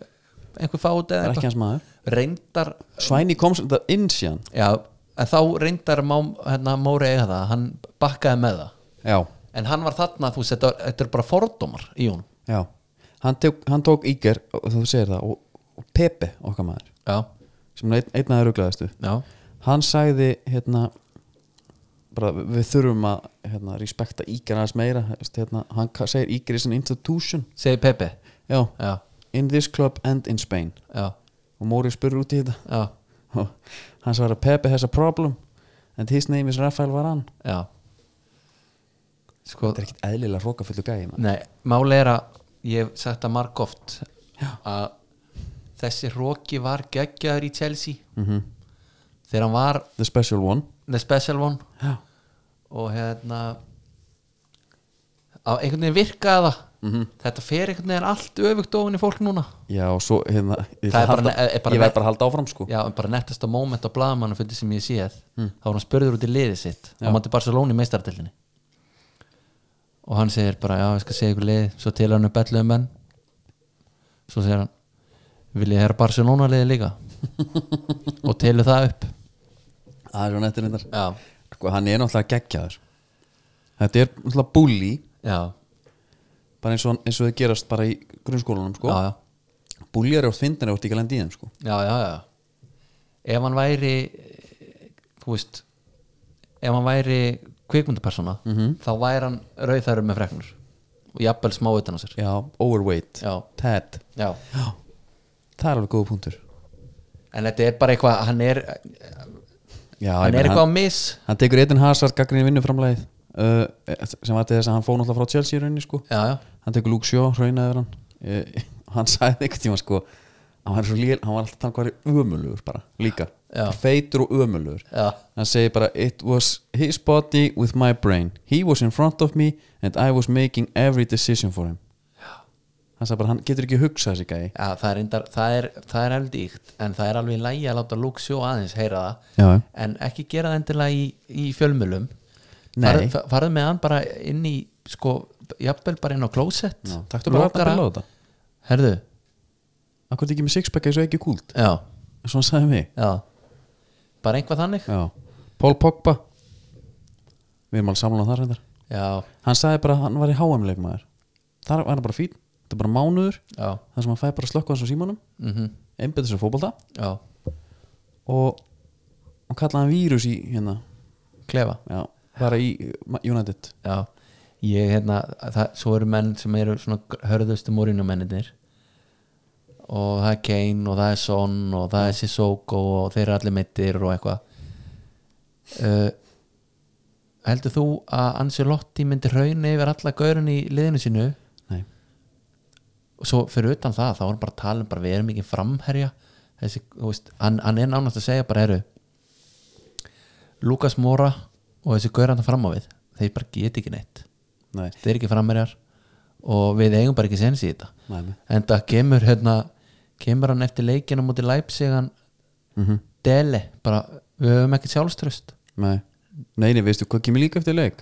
S2: einhver fát
S1: það
S2: eða
S1: er ekki
S2: eitthvað
S1: hans maður.
S2: reyndar
S1: Svæni kom sem þetta inn síðan.
S2: já, en þá reyndar má, hérna, Móri eiga það, hann bakkaði með það
S1: Já,
S2: en hann var þarna, þú veist, þetta, þetta er bara fordómar í hún
S1: Já, hann tók, hann tók Íger og þú segir það og, og Pepe okkar maður
S2: Já,
S1: sem er einn, einn aðeins ruglaðistu
S2: já,
S1: hann sagði hérna bara við- við þurfum að hérna, respekta Íger aðeins meira veist, hérna, hann ka- segir Íger is an institution
S2: segi Pepe
S1: já,
S2: Já,
S1: in this club and in Spain
S2: já,
S1: og Móri spurur út í þetta
S2: já,
S1: og hann sagði að Pepe has a problem and his name is Rafael Varan
S2: já Sko,
S1: þetta er ekkit eðlilega rókafullu gæði maður.
S2: Nei, máli er að ég hef sagt það margóft að þessi hróki var geggjaður í Chelsea
S1: Mhm.
S2: þegar hann var
S1: the special one
S2: the special one
S1: já,
S2: og hérna á einhvern veginn virkaði það þetta fer einhvern veginn allt öfugt ofan í fólk núna
S1: já og svo hérna, ég,
S2: Það er
S1: ætla að
S2: bara-
S1: halda-
S2: er bara-
S1: ég verð bara að halda áfram sko
S2: já, en bara nettasta moment á blaðamann fyrir sem ég séð, þá var hann spurður út í liðið sitt á mátti Barcelona í meistardeldinni og hann segir bara já, ég skal segja ykkur lið, svo til hann upp belluðu menn svo segir hann vil ég herra Barcelona liðið líka og telur það upp
S1: það er svo nettir reyndar
S2: já,
S1: sko, hann er náttúrulega geggjaður þetta er náttúrulega bully
S2: já,
S1: bara eins og, eins og þau gerast bara í grunnskólanum sko.
S2: já, já,
S1: búljar eru þvindin eru ekki að lenda í þeim sko.
S2: já, já, já. ef hann væri eh, þú veist ef hann væri kvikmyndapersona þá væri hann rauðþæru með freknur og jafnvel smá utan á sér
S1: já, overweight,
S2: já,
S1: tad
S2: já.
S1: já. það er alveg góða punktur
S2: en þetta er bara eitthvað hann er,
S1: já, ég
S2: hann
S1: meina,
S2: er eitthvað á miss
S1: hann, hann tekur einn hasard gaggrinni vinnuframlæðið uh, sem var til þess að hann fóð náttúrulega frá Chelsea í rauninni sko.
S2: já, já,
S1: hann tekur Luke Shaw, raunaður hann uh, hann sagði einhvern tíma sko, hann var, svo lél, hann var alltaf hann hvað er ömulugur bara, líka
S2: Já.
S1: feitur og ömulugur
S2: já,
S1: hann segir bara it was his body with my brain he was in front of me and I was making every decision for him hann sagði bara hann getur ekki hugsað þessi gæi
S2: já það er reyndar það er, það er alveg díkt, en það er alveg í lægi að láta Luke sjó aðeins heyra það
S1: já,
S2: en ekki gera það endilega í, í fjölmjölum
S1: Nei.
S2: farð, farð með hann bara inn í sko, jafnvel bara inn á klósett
S1: já taktu bara að
S2: lokar
S1: bila á
S2: að-
S1: þetta
S2: herðu,
S1: akkur er ekki með sixpacka eins og ekki kúlt
S2: já,
S1: eins og hann sagði mig
S2: já bara einhvað þannig já,
S1: já. Paul Pogba við erum alveg samlan á það reyndar
S2: já,
S1: hann sagði bara að hann var í HM leikmaður þar var hann bara fín þetta er bara mánuður
S2: já,
S1: þar sem hann fæði bara slökku hans á símanum
S2: mhm,
S1: einbyttis á fótbolta
S2: já, og
S1: og kallaði hann vírus í hérna
S2: klefa
S1: já, bara í uh, United
S2: Já, ég hérna það, svo eru menn sem eru svona hörðustu morínumennir og það er Kane og það er Son og það er Sissoko og þeir eru allir meittir og eitthvað uh, heldur þú að Ancelotti myndi raun yfir alla gaurun í liðinu sínu
S1: nei,
S2: og svo fyrir utan það þá er hann bara að tala um bara við erum ekki framherja þessi, þú veist, hann, hann er nánast að segja bara eru Lukas Mora og þessi gauranda fram á við þeir bara geti ekki neitt
S1: nei,
S2: þeir eru ekki framherjar og við eigum bara ekki sens í þetta
S1: nei, nei.
S2: en það kemur hérna kemur hann eftir leikina múti Leipzig hann
S1: Mm
S2: deli, bara við höfum ekki sjálfströst
S1: nei nei, nei, veistu hvað kemur líka eftir leik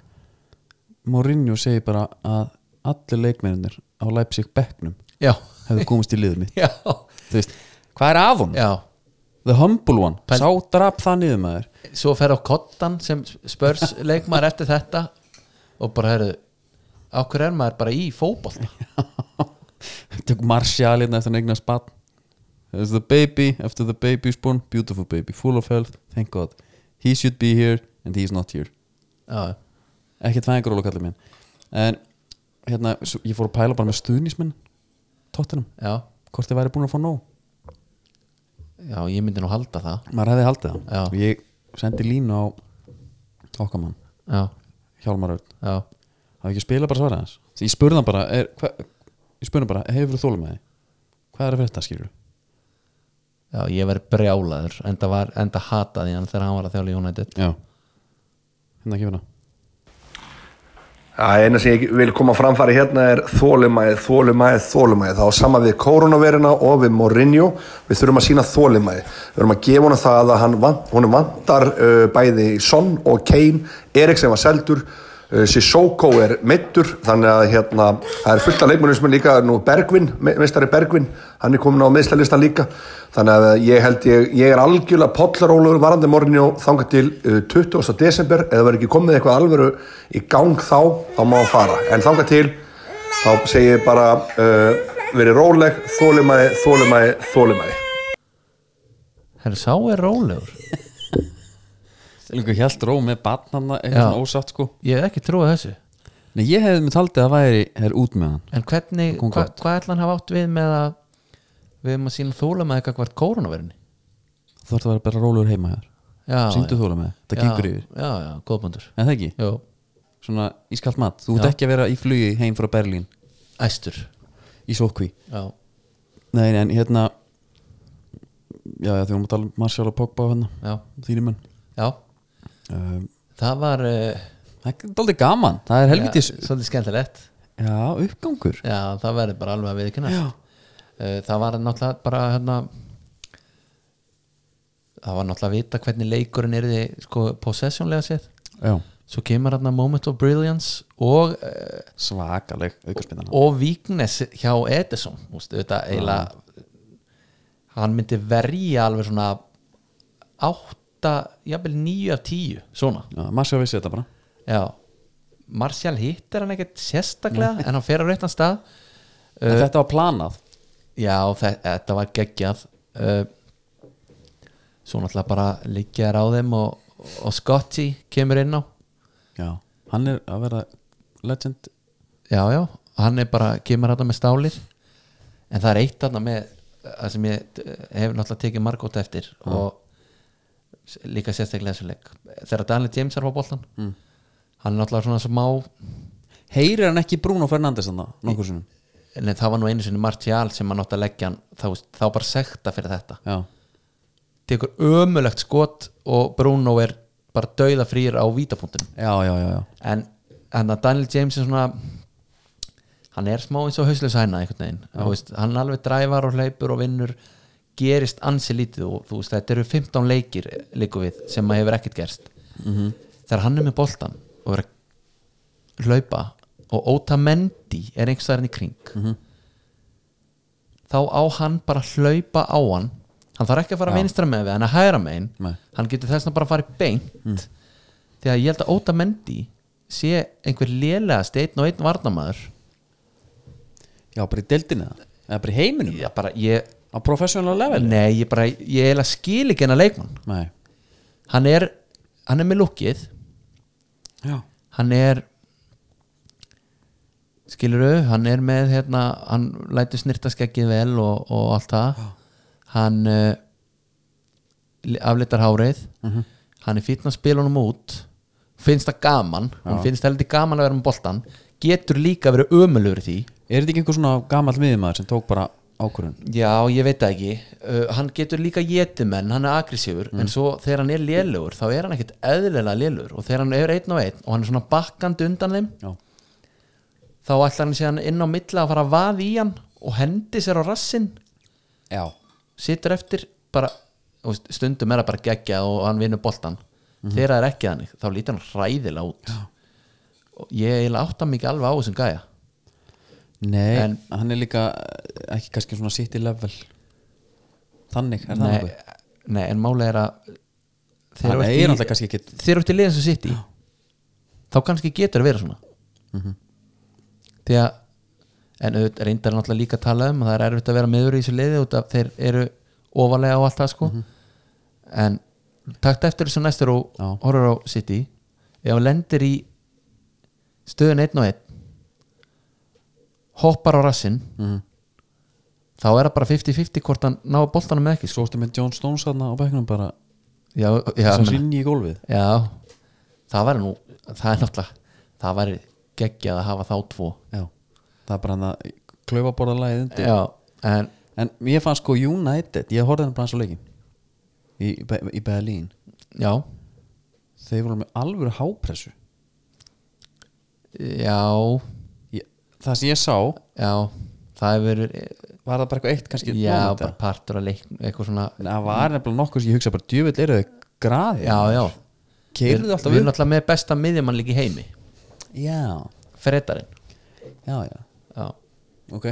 S1: Mourinho segir bara að allir leikmennir á Leipzig bekknum
S2: já,
S1: hefur komist í liðið mitt
S2: já,
S1: Þú veist, hvað er af hún?
S2: já
S1: The humble one,
S2: Pæl-
S1: sá drap það niður maður
S2: svo fer á kottan sem spörs leikmaður eftir þetta og bara herðu á hverju er maður bara í fótboll
S1: Tök marsjalina hérna eftir hann eignar spatt There's the baby, after the baby is born Beautiful baby, full of health, thank God He should be here and he's not here
S2: já,
S1: Ekkert fæðingur ólega kallið minn En hérna, svo, ég fór að pæla bara með stuðnismenn Tottenham,
S2: já,
S1: hvort þið væri búin að fá nóg
S2: já, ég myndi nú halda það
S1: Maður hefði haldið
S2: Já.
S1: það Og ég sendi línu á okkamann,
S2: já,
S1: Hjálmar Örn
S2: já,
S1: hafa ekki að spila bara svara hans ég spurði hann bara, er, hva, ég spurði hann bara hefur þú þólum með því hvað er að fyrir þetta skilur
S2: já, ég verið brjálaður enda, var, enda hataði hann þegar hann var að þjála United
S1: já hérna ekki hérna
S3: Það eina sem ég vil koma á framfæri hérna er þólimæði, þólimæði, þólimæði. Það á sama við koronaviruna og við Mourinho. Við þurfum að sína þólimæði. Við þurfum að gefa honum það að hann vant, honum vantar uh, bæði Son og Kane, Erik sem var seldur, uh, Sissoko er meittur, þannig að hérna, það er fullt af leikmennum sem er líka nú Bergvin, meistari Bergvin, hann er komin á meðslalista líka. Þannig að ég held ég, ég er algjörlega pollarólugur varandi Mourinho þangað til uh, 20. desember eða verður ekki komið eitthvað alvöru í gang þá, þá má hann fara. En þangað til, þá segi ég bara uh, verið róleg, þólimaði, þólimaði, þólimaði.
S2: Herru, sá er rólegur
S1: líka hjælt ró með barnanna
S2: Já.
S1: eitthvað svona ósatt sko
S2: Ég hef ekki trúið þessu
S1: Nei, ég hefði mér taldið að væri er út með hann
S2: En hvernig,
S1: Kom
S2: hva,
S1: gott.
S2: hvað ætla hann hafa átt við með að Við erum að sína þóla með eitthvað hvert kórunaverðinni
S1: þú þarf að vera bara rólur heima hér
S2: Já,
S1: síndu
S2: já.
S1: þólum með, það
S2: Já,
S1: gengur yfir
S2: Já, já, góðbundur
S1: en það ekki,
S2: Jó,
S1: svona ískalt mat þú ert
S2: Já.
S1: ekki að vera í flugi heim frá Berlín
S2: æstur
S1: í sókví
S2: Já,
S1: nei, nei, en hérna já, já, því hún að tala um Marshall og Pogba hérna,
S2: já,
S1: þínum menn
S2: já
S1: um,
S2: Það var uh,
S1: það er daldið gaman, það er helvitis
S2: já, Svolítið skemmtilegt
S1: já uppgangur
S2: Já, það verður bara alveg að við ekki Það var náttúrulega bara hérna Það var náttúrulega að vita hvernig leikurinn er þið sko, possessionlega séð
S1: já
S2: Svo kemur hérna Moment of Brilliance og uh,
S1: svakaleg aukarspinnan
S2: og víknes hjá Edison úst, auðvitað eiginlega hann myndi verja alveg svona átta, jafnvel níu af tíu svona,
S1: Marcia vissi þetta bara
S2: já Marcial hittir hann ekkert sérstaklega en hann fer á réttan stað
S1: en þetta var planað
S2: já, þe þetta var geggjað uh, svo náttúrulega bara liggjaðar á þeim og, og Scotty kemur inn á
S1: já. hann er að vera legend
S2: já, já, hann er bara kemur hann með stálið en það er eitt hann með það sem ég eh, hef náttúrulega tekið margótt eftir og s- líka sérstaklega þessu leik þegar Daniel James er á boltan hann er náttúrulega svona smá
S1: heyrir hann ekki Bruno Fernandes þannig nokkur sinnum
S2: en það var nú einu sinni Martial sem hann átti að leggja hann þá, þá bara sekta fyrir þetta
S1: já.
S2: tekur ömulegt skot og Bruno er bara dauða frýr á vítapunktunum
S1: já, já, já, já
S2: en, en að Daniel James er svona hann er smá eins og hauslega sæna einhvern veginn, þú veist, hann alveg dræfar og hleypur og vinnur gerist ansi lítið og þú veist þetta eru 15 leikir líku við sem að hefur ekkert gerst -hmm. þegar hann er með boltan og er að hlaupa og Otamendi er einhvers staðar hann í kring -hmm. þá á hann bara að hlaupa á hann hann þarf ekki að fara að vinstra með við hann að hæra með
S1: Nei.
S2: hann getur þess að bara að fara í beint því að ég held að Otamendi sé einhver lélegast einn og einn varnamaður
S1: já, bara í deildinni það eða bara í heiminum
S2: Já, bara, ég,
S1: á professional level
S2: Nei, ég bara, ég eiginlega skil ekki hennar leikmann
S1: Nei.
S2: Hann er, hann er með lukkið
S1: Já.
S2: Hann er Skilurðu, hann er með hérna, hann lætur snirta skeggið vel og, og allt það Hann uh, aflitar hárið Hann er fýtna spilunum út Finnst það gaman, hann finnst það heldur gaman að vera með boltan Getur líka að vera ömulur því
S1: er þetta ekki einhver svona gamall miðumæður sem tók bara ákvörðun
S2: Já, ég veit það ekki uh, Hann getur líka jetimenn, hann er aggressífur En svo þegar hann er lélugur Þá er hann ekkert eðlilega lélugur Og þegar hann er einn og einn Og hann er svona bakkandi undan þeim
S1: Já.
S2: Þá ætlar hann síðan inn á milla að fara að vaða í hann Og hendi sér á rassinn
S1: Já.
S2: Situr eftir bara þú veist, Stundum er það bara geggja og hann vinnur boltan Þegar það er ekki þannig Þá lítur hann hræðilega út Já. Og ég eiginlega átta mikið alveg á þessum gæja
S1: Nei,
S2: En-
S1: hann er líka eh, ekki kannski svona city level þannig, er það
S2: Nei,
S1: nokkuð
S2: nei, en máli er að þeir
S1: hann
S2: eru
S1: er náttúrulega kannski ekki
S2: þeir eru til liðin sem sitt í þá kannski getur að vera svona
S1: Mhm.
S2: því að en auðvitað reyndar er náttúrulega líka að tala um að það er erfitt að vera meður í þessu liði út af þeir eru ofalega á allt það
S1: Mhm.
S2: sko en takt eftir þessu næstur og
S1: Já.
S2: horfur á sitt í ef hann lendir í stöðun einn og einn hoppar á rassinn
S1: Mhm.
S2: þá er það bara 50-50 hvort hann ná boltanum með ekki sko.
S1: svo ertu með John Stones þarna á bekknum bara
S2: já, já,
S1: sem
S2: meina-
S1: rinni í gólfið
S2: Já, það var nú það er náttúrulega, það var geggjað að hafa þá tvo
S1: Já. það er bara hann að klaufaborðalagið undir
S2: Já, en
S1: En ég fann sko United Ég horfði hann bara svo leikin í, Be- í Berlín
S2: já,
S1: Þeir voru með alvöru hápressu
S2: já
S1: ég, Það sem ég sá
S2: já, það hefur verið
S1: Var það bara eitthvað eitt kannski
S2: já,
S1: blóðmynd,
S2: bara
S1: eða?
S2: partur að leik eitthvað svona,
S1: En Það var nefnilega nokkuð sem ég hugsa bara Djöfull eru þau graði
S2: já, já
S1: Keirðu
S2: Við-
S1: alltaf
S2: Við
S1: við
S2: erum alltaf með besta miðjumann líka í heimi
S1: Já,
S2: Fredarinn
S1: já, já
S2: Já,
S1: Ok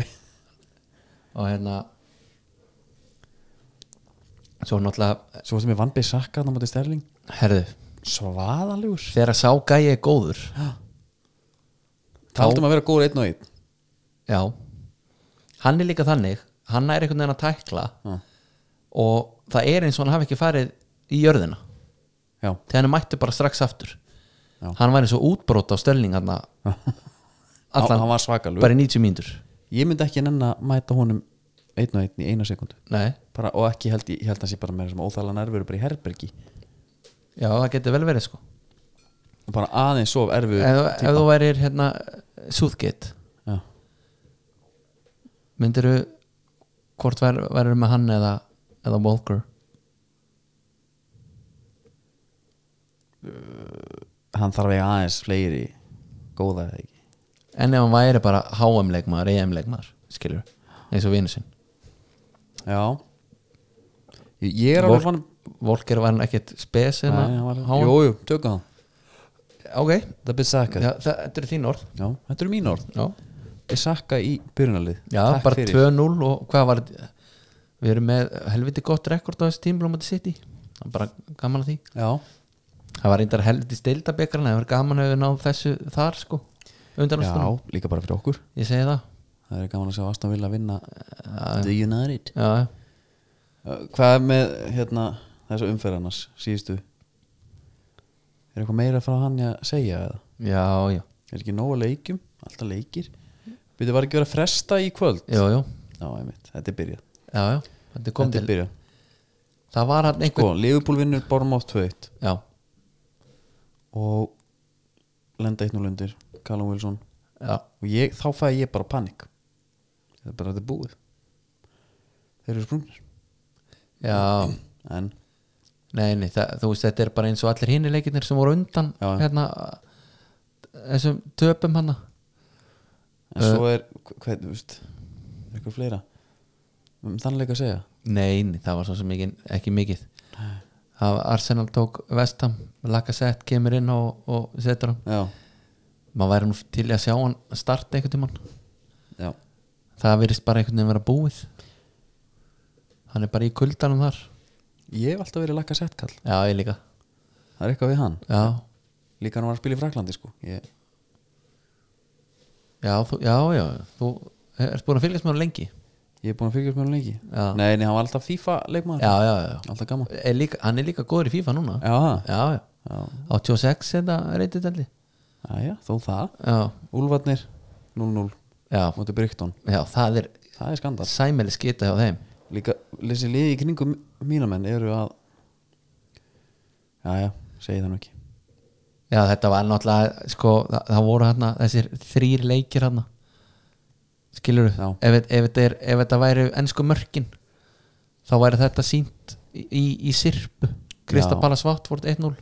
S2: og hérna Svo náttúrulega,
S1: Svo varstu með Van Bissaka Þannig mútið Sterling
S2: herðu
S1: Svaðalegur
S2: þegar að sá gæi er góður
S1: Taldum að vera góður einn og einn
S2: Já Hann er líka þannig, hann er einhvern veginn að tækla
S1: Já.
S2: og það er eins og hann hafi ekki farið í jörðina
S1: Já,
S2: þegar hann er mættu bara strax aftur
S1: Já.
S2: hann var eins og útbrót á stölningarna
S1: Hann- hann var svakalegur.
S2: bara í 90 mínútur
S1: ég myndi ekki nenn að mæta honum einn og einn í eina sekundu
S2: Nei,
S1: bara, og ekki held ég, ég held að sé bara með þessum óþægilega nervur bara í herbergi
S2: já það getur vel verið sko
S1: og bara aðeins sof erfið
S2: ef, ef þú værir hérna Southgate,
S1: já.
S2: myndirðu hvort væri, værir með hann eða, eða Walker
S1: hann þarf að eiga aðeins fleiri góða eða ekki
S2: en ef hann væri bara HM leikmaður, EM leikmaður skilur, eins og vinur sinn
S1: já ég ég er alveg fann
S2: Volker var hann ekkert spes hérna? Há-
S1: jújú, tökum það
S2: ok,
S1: það byrði sakka
S2: já, það, þetta eru þín orð
S1: já, þetta eru mín orð
S2: já,
S1: ég sakka í byrjunalið
S2: já
S1: Takk
S2: bara
S1: fyrir.
S2: 2-0 og hvað var við erum með helviti gott rekord á þessu tímblum að sitt í bara gaman að því
S1: já, það
S2: það var reyndar helviti steildabekarna það var gaman að við náðum þessu þar sko undan
S1: já, líka bara fyrir okkur
S2: ég segi það
S1: það er gaman að sjá Aston Villa vinna The United
S2: já,
S1: Uh, hvað er með hérna þessu umferðarnas síðustu er eitthvað meira frá hann að segja eða
S2: já, já,
S1: er ekki nóg að leikjum, alltaf leikir byrju var ekki verið að fresta í kvöld
S2: já, já,
S1: Já, einmitt, þetta er byrjað
S2: já, já. Þetta kom
S1: Þetta er
S2: til,
S1: byrjað
S2: það var hann
S1: Sko,
S2: einhver
S1: Liverpool vinnur Bormótt 2-1
S2: já,
S1: og lenda 1-0 undir Callum Wilson
S2: já,
S1: og ég, þá fæði ég bara panik þetta er bara þetta er búið þeir eru sprungnir
S2: já
S1: en
S2: Nei, nei það, þú veist, þetta er bara eins og allir hinni leikirnir sem voru undan
S1: Já, já.
S2: hérna þessum töpum hana
S1: en svo
S2: Eh.
S1: er, hvað, þú veist er eitthvað fleira um þannleika að segja
S2: Nei, nei það var svo sem ekki, ekki mikið það var Arsenal tók Vestam Lacazette kemur inn og, og setur hann
S1: Já,
S2: maður væri nú til í að sjá hann starta einhvern tímann
S1: já
S2: það virðist bara einhvern veginn vera búið hann er bara í kuldanum þar
S1: Ég hef alltaf verið lakka sett kall
S2: Já, ég líka
S1: Það er eitthvað við hann
S2: Já,
S1: Líka hann var að spila í Fraklandi sko ég,
S2: já, þú, já, já þú ert búin að fylgjast með hann lengi
S1: Ég er búin að fylgjast með hann lengi
S2: Já.
S1: Nei, nei, hann var alltaf FIFA leikmaður
S2: já, já, já.
S1: Alltaf gaman
S2: Er líka, hann er líka góður í FIFA núna
S1: Já, það
S2: já, já. 86 þetta reytið allir
S1: Jæja, þó það
S2: já,
S1: Úlfarnir 0-0
S2: já,
S1: Móti Brygton
S2: já, það er
S1: Það er skandal
S2: sæmæli skita hjá þeim
S1: Líka, þessi liði í kringum mínamenn eru að Jæja, segi það nú ekki
S2: já, þetta var náttúrulega sko, það, það voru hérna, þessir þrýr leikir hérna skilur
S1: Já.
S2: ef, ef, þetta er, ef þetta væri ennsku mörkin þá væri þetta sínt í, í, í sirpu
S1: Já.
S2: Kristapala Svartvort 1-0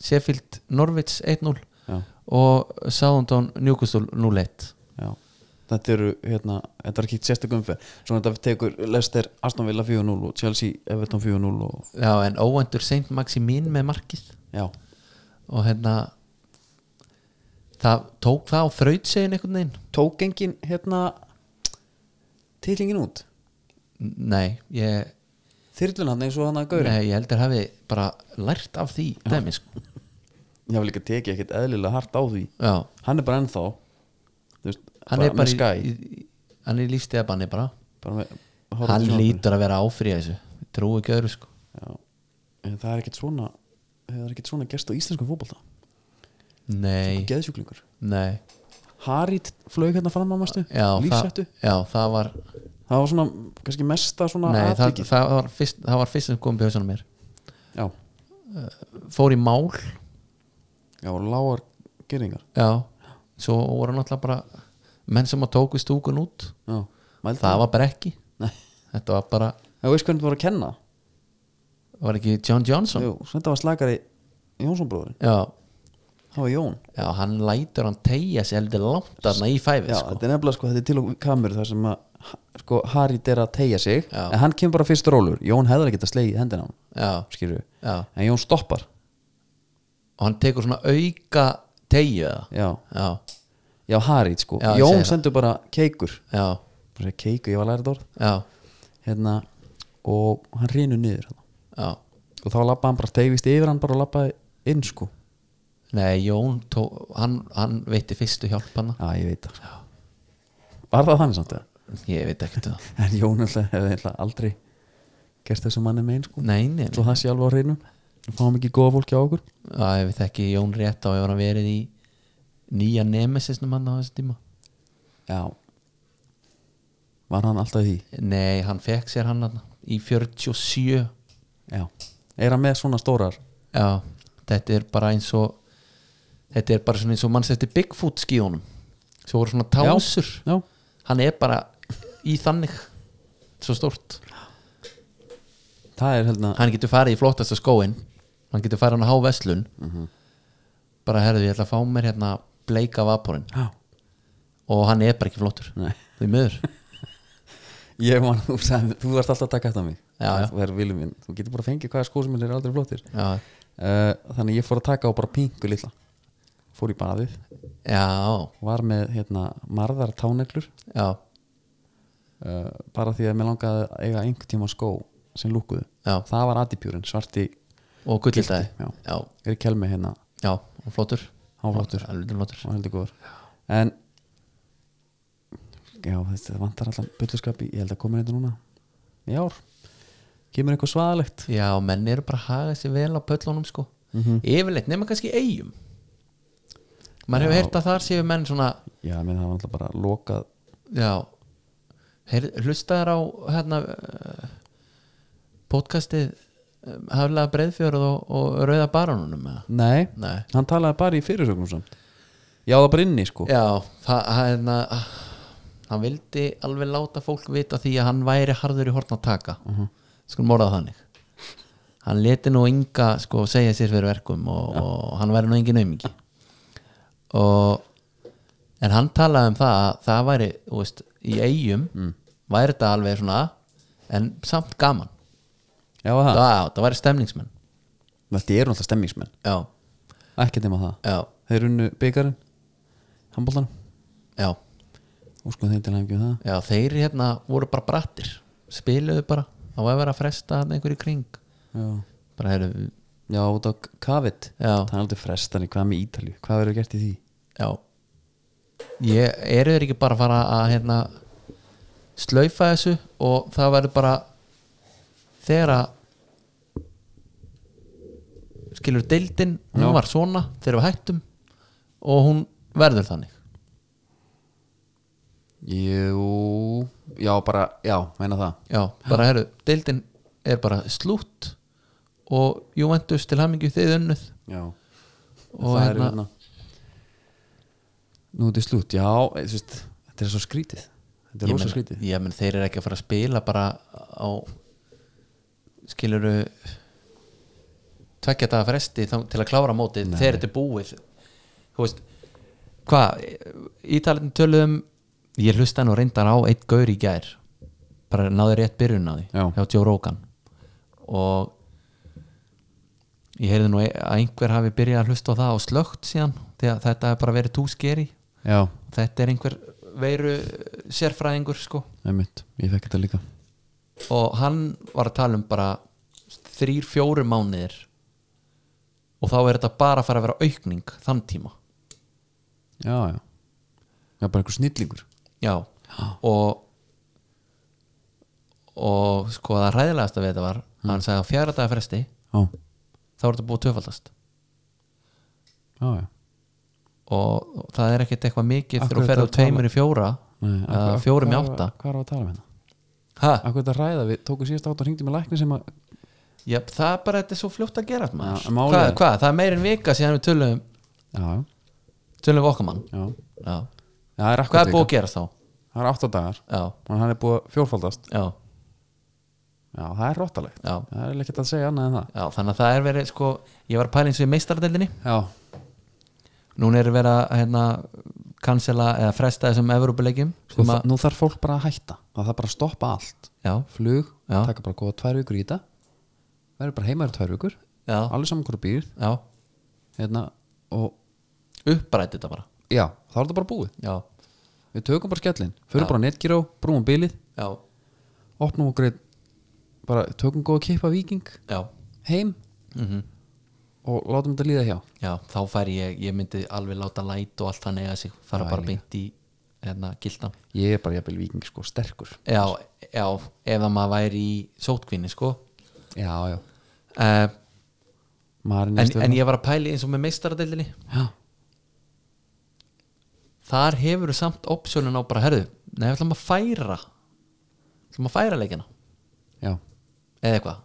S2: Sheffield Norvits 1-0
S1: Já,
S2: og Southampton Newcastle 0-1
S1: já Þetta eru, hérna, þetta er ekki sérstökum umferð Svona þetta tekur Lester Aston Villa 4-0 og Chelsea Everton 4-0 og
S2: já, en óvendur Saint Maximin með markið
S1: já,
S2: og hérna það tók það á þrautsegin einhvern veginn
S1: tók engin, hérna titlingin út
S2: nei, ég,
S1: þyrlun hann eins og hann að gauri
S2: nei, ég heldur hafi bara lært af því dæmi, sko.
S1: ég hef líka tekið ekkert eðlilega hart á því
S2: já,
S1: hann er bara ennþá þú veist,
S2: hann er
S1: með
S2: bara
S1: skæ
S2: í, í, hann er lífstíða banni bara
S1: bara með, horfa
S2: hann
S1: til sjónvarpinu.
S2: lítur að vera áfrið þessu Ég trúi ekki öðru sko
S1: Já. en það er ekkert svona það er ekkert svona gerst á íslenskum fótbolta
S2: nei,
S1: geðsjúklingur
S2: nei
S1: Harit flög hérna fram að mastu
S2: já, það,
S1: lífsættu
S2: já, það var
S1: það var svona kannski mesta svona
S2: nei, það,
S1: atvikið.
S2: það var fyrst það var fyrst sem kom bjóð svona mér
S1: já,
S2: fór í mál,
S1: já, og lágar geringar
S2: já svo voru náttúrulega bara menn sem að tóku stúkun út
S1: já, mældi
S2: það var bara ekki
S1: Nei.
S2: þetta var bara,
S1: það veist hvernig þú var að kenna
S2: var ekki John Johnson
S1: Jú, þetta var slakari Jónsson bróðurinn
S2: já,
S1: það var Jón
S2: já, hann lætur hann tegja sér heldur langt þarna í fæfið
S1: Já,
S2: sko.
S1: þetta er nefnilega sko, þetta er til og kameru þar sem að sko, Harit er að tegja sig
S2: Já.
S1: en hann kemur bara fyrst rólur, Jón hefðar ekki að slegið hendina á hann,
S2: já,
S1: skilju
S2: já.
S1: en Jón stoppar,
S2: og hann tekur svona auka tegju eða?
S1: já,
S2: já,
S1: já Harit sko
S2: Já, ég
S1: Jón
S2: segi það.
S1: sendur bara keikur
S2: já,
S1: bara segja keikur, ég var lærið orð
S2: já,
S1: hérna, og hann rinur niður hérna.
S2: já.
S1: og þá lappa hann bara tegvist yfir hann bara og lappaði inn sko
S2: nei, Jón tó, hann, hann veitti fyrstu hjálp hann
S1: Já, ég veit það sko. Var það þannig samt það?
S2: ég veit ekkert um það
S1: En Jón alltaf hefði alltaf aldrei gert þessu manni megin sko
S2: nei, nei,
S1: svo
S2: nei.
S1: það sé alveg á reynum og fáum ekki góða fólki á okkur
S2: Já, ég veit ekki Jón rétt á hefur hann verið í nýja nemesisnum hann á þessum tíma
S1: Já Var hann alltaf í því?
S2: nei, hann fekk sér hann hann í 47
S1: Já Er hann með svona stórar?
S2: Já, þetta er bara eins og þetta er bara svona eins og manns eftir Bigfoot skíunum svo voru svona tásur
S1: Já
S2: hann er bara í þannig svo stórt
S1: Það er hérna- heldur að
S2: hann getur farið í flottasta skóin hann getur farið hann á háveslun bara herðu ég ætla að fá mér hérna bleika vaporinn
S1: Já
S2: og hann er bara ekki flottur
S1: Nei
S2: því miður
S1: Ég man, þú sagði, þú varst alltaf að taka eftir mig
S2: Já, já.
S1: Þú er vilum minn Þú getur bara að fengið hvaða skó sem er aldrei flottir
S2: já,
S1: uh, Þannig ég fór að taka á bara pingu litla Fór í baðið
S2: já,
S1: Var með, hérna, marðar táneglur
S2: já,
S1: uh, Bara því að mér langaði að eiga einhvern tíma skó sem lúkuðu
S2: já.
S1: Það var adipjúrin, svarti
S2: og gullitaði
S1: Já.
S2: já,
S1: Er í kelmi hérna
S2: já, og flottur
S1: Hann var flottur.
S2: Hann er flottur.
S1: og heldur góður en já, þetta vantar allan byrjuskapi, ég held að koma hérna núna í ár, kemur eitthvað svaðalegt
S2: Já, menn eru bara að haga sér vel á pöllunum sko Yfirleitt, nema kannski eigum Maður hefur heyrt að þar séu menn svona
S1: já, menn það var alltaf bara lokað
S2: Já heyr, Hlustaðar á hérna uh, podcastið um, Haflega breiðfjörð og, og Rauða baranunum eða?
S1: nei,
S2: Nei
S1: hann talaði bara í fyrirsögnum samt já, það bara inni sko
S2: Já, það hérna Hann vildi alveg láta fólk vita því að hann væri harður í horn að taka uh -huh. Skulum orða það þannig Hann leti nú enga sko segja sér fyrir verkum og, og hann væri nú engin aumingi og en hann talaði um það að það væri, þú veist, í eigum væri þetta alveg svona en samt gaman,
S1: já, það,
S2: það, það væri stemningsmenn
S1: þetta eru alltaf stemmingsmenn
S2: Já,
S1: ekki nema það,
S2: já,
S1: þeir unnu byggarinn handbóltanum,
S2: já
S1: og sko þeim til að hefngjum það
S2: Já, þeir hérna voru bara brattir spiluðu bara, þá var að vera að fresta þarna einhverju í kring
S1: já,
S2: bara heyrðu,
S1: já út á kavit
S2: já,
S1: það er aldrei frestani, hvað með Ítalju hvað verður gert í því?
S2: já ég, eru þeir ekki bara að fara að hérna slaufa þessu og það verður bara þegar að skilur deildin hún
S1: Já.
S2: var svona þegar við hættum og hún verður þannig
S1: Jú, já, bara, já, meina það
S2: já, bara herru, deildin er bara slútt og Juventus til hamingju þið unnuð
S1: Já,
S2: og
S1: það er
S2: hérna-
S1: hérna Nú þetta er slútt, já, eh, þú veist, þetta er svo skrítið Þetta er
S2: Ég
S1: rosa
S2: meina-
S1: skrítið
S2: ég menn þeir eru ekki að fara að spila bara á skiluru tvekja daga fresti þá, til að klára mótið þegar þetta er búið þú veist hvað, ítalinn töluðum ég hlusta nú reyndar á eitt gaur í gær bara náði rétt byrjun á því
S1: Já.
S2: hjá Joe Rogan og ég heyrði nú að einhver hafi byrjað að hlusta á það og slögt síðan því að þetta hefur bara verið too scary
S1: Já,
S2: þetta er einhver veiru sérfræðingur sko
S1: einmitt, ég fekk þetta líka
S2: og hann var að tala um bara þrýr, fjóru mánuðir og þá er þetta bara að fara að vera aukning þann tíma
S1: Já, já Já, bara einhver snillingur
S2: já, og og sko það ræðilegasta við þetta var
S1: Hmm.
S2: mm. hann sagði á fjara daga fresti
S1: Já,
S2: þá er þetta búið tvöfaldast
S1: já, já
S2: og og það er ekkert eitthvað mikið
S1: Af
S2: þegar þú
S1: hverju
S2: ferðu
S1: þetta
S2: úr tveimur í fjóra
S1: Nei, af-
S2: eða
S1: af-
S2: fjórum í
S1: hvað-
S2: átta
S1: Hvað er að tala um hérna?
S2: ha,
S1: Akkur þetta ræða, við tókum síðast átt og hringdi með lækni sem að
S2: já, það er bara þetta er svo fljótt að gera maður.
S1: Já, málið
S2: hvað,
S1: er-
S2: hvað, það er meir en vika síðan við tölum
S1: Já,
S2: Tölum við okkar mann
S1: já,
S2: já.
S1: já það er
S2: Hvað
S1: akkurat
S2: er búið að
S1: líka
S2: gerast þá?
S1: Það er átta dagar
S2: Já,
S1: og hann er búið að fjórfaldast
S2: já,
S1: Já, það er róttalegt
S2: já,
S1: Það er ekkert að segja annað en það
S2: já Þannig að það er verið sko Ég var að pæla eins og í meistaradeldinni
S1: Já,
S2: Núna er verið að hérna, cancela eða fresta þessum Evrópuleikjum
S1: Sko,
S2: sem
S1: þa-
S2: að,
S1: nú þarf fólk bara að hætta það þarf bara að stoppa allt
S2: Já,
S1: flug,
S2: Já.
S1: taka bara góða tvær vikur í þetta verður bara heima í tvær vikur
S2: já,
S1: alveg saman hverju býr
S2: já
S1: hérna, og
S2: Upprætti þetta bara
S1: já, þá er þetta bara búið
S2: Já,
S1: við tökum bara skellin, förum
S2: Já.
S1: bara á netgíró brúum bilið,
S2: já,
S1: opnum og greið bara tökum góða kippa viking
S2: já
S1: heim
S2: mm
S1: Mhm. og látum þetta líða hjá
S2: Já, þá færi ég, ég myndi alveg láta læt og allt það nega sig fara
S1: Já,
S2: bara
S1: ég
S2: beint í hérna, gildan
S1: ég er bara jafnvel viking sko, sterkur
S2: Já, já, ef að maður væri í sótkvinni sko
S1: já, já,
S2: uh,
S1: maðurinn
S2: en, en ég var að pæli eins og með meistaradeildinni
S1: já,
S2: þar hefur þú samt opsjónin á bara herðu, nei, við ætlum að færa ætlum að færa leikina
S1: já,
S2: eða eitthvað,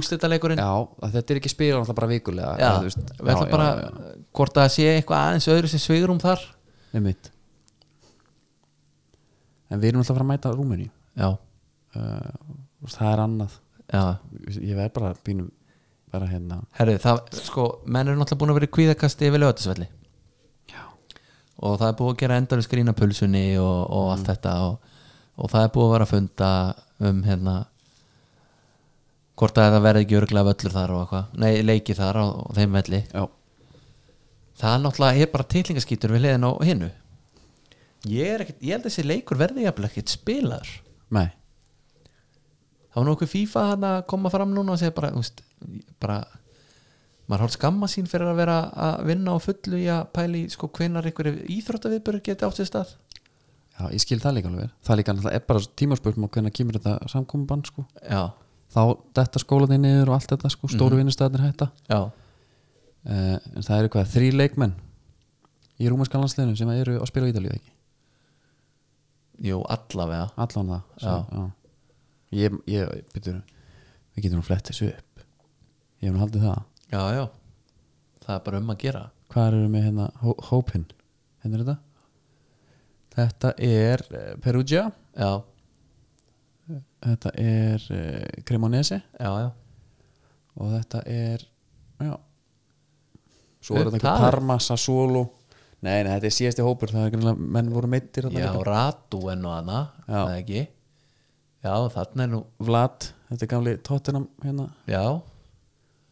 S2: úslita leikurinn
S1: já að þetta er ekki spila náttúrulega bara vikulega
S2: já,
S1: eða, þú veist,
S2: við ætlum bara hvort að það sé eitthvað aðeins öðru sem svigurum þar
S1: Einmitt. En við erum alltaf að fara að mæta Rúmeni
S2: já,
S1: uh, og það er annað
S2: já,
S1: Ég verð bara pínum bara hérna
S2: herðu, það, sko menn eru náttúrulega búin að vera í kvíðakasti yfir lögatisvelli
S1: Já,
S2: og það er búið að gera endalus grína pulsunni og, og
S1: Mm.
S2: allt þetta og, og það er búið að vera að funda um hérna hvort að það verði ekki örglega völlur þar og eitthvað, nei, leiki þar á, á þeim velli
S1: já,
S2: það er náttúrulega er bara titlingaskítur við hliðin á hinnu ég, er ekkit, ég held að þessi leikur verði jafnvel ekkit spilaður
S1: nei
S2: þá var nú okkur FIFA hann að koma fram núna og segja bara, úst, bara maður hálf skamma sín fyrir að vera að vinna á fullu í að pæli sko hvenar einhverju íþróttaviðbörur geti átt sér stað
S1: Já, ég skil það líka alveg vel Það líka náttúrulega er bara tímaspörsmál hvernig kemur þetta samkomubann sko
S2: já,
S1: Þá detta skólaði niður og allt þetta sko Stóru mm hætta
S2: já,
S1: uh, En það eru hvað, þrý leikmenn í rúmenska landsliðinu sem eru að spila á Ítalíu ekki
S2: jú, allavega
S1: Allan það
S2: Já.
S1: já. Ég, ég, byrju, við getum nú flett þessu upp Ég hef nú haldið það
S2: já, já, það er bara um að gera
S1: hvað eru með hérna hó- hópinn hérna er þetta þetta er eh, Perugia
S2: já,
S1: þetta er eh, Cremonese
S2: já, já
S1: og þetta er já svo
S2: Upp
S1: er þetta einhver
S2: talið.
S1: Parma, Sassuolo nei, nei, þetta er síðasti hópur það er greinlega, menn voru meittir
S2: já, ratúen og hana,
S1: Já.
S2: það ekki já, þarna er nú
S1: Vlad, þetta er gamli Tottenham hérna,
S2: já,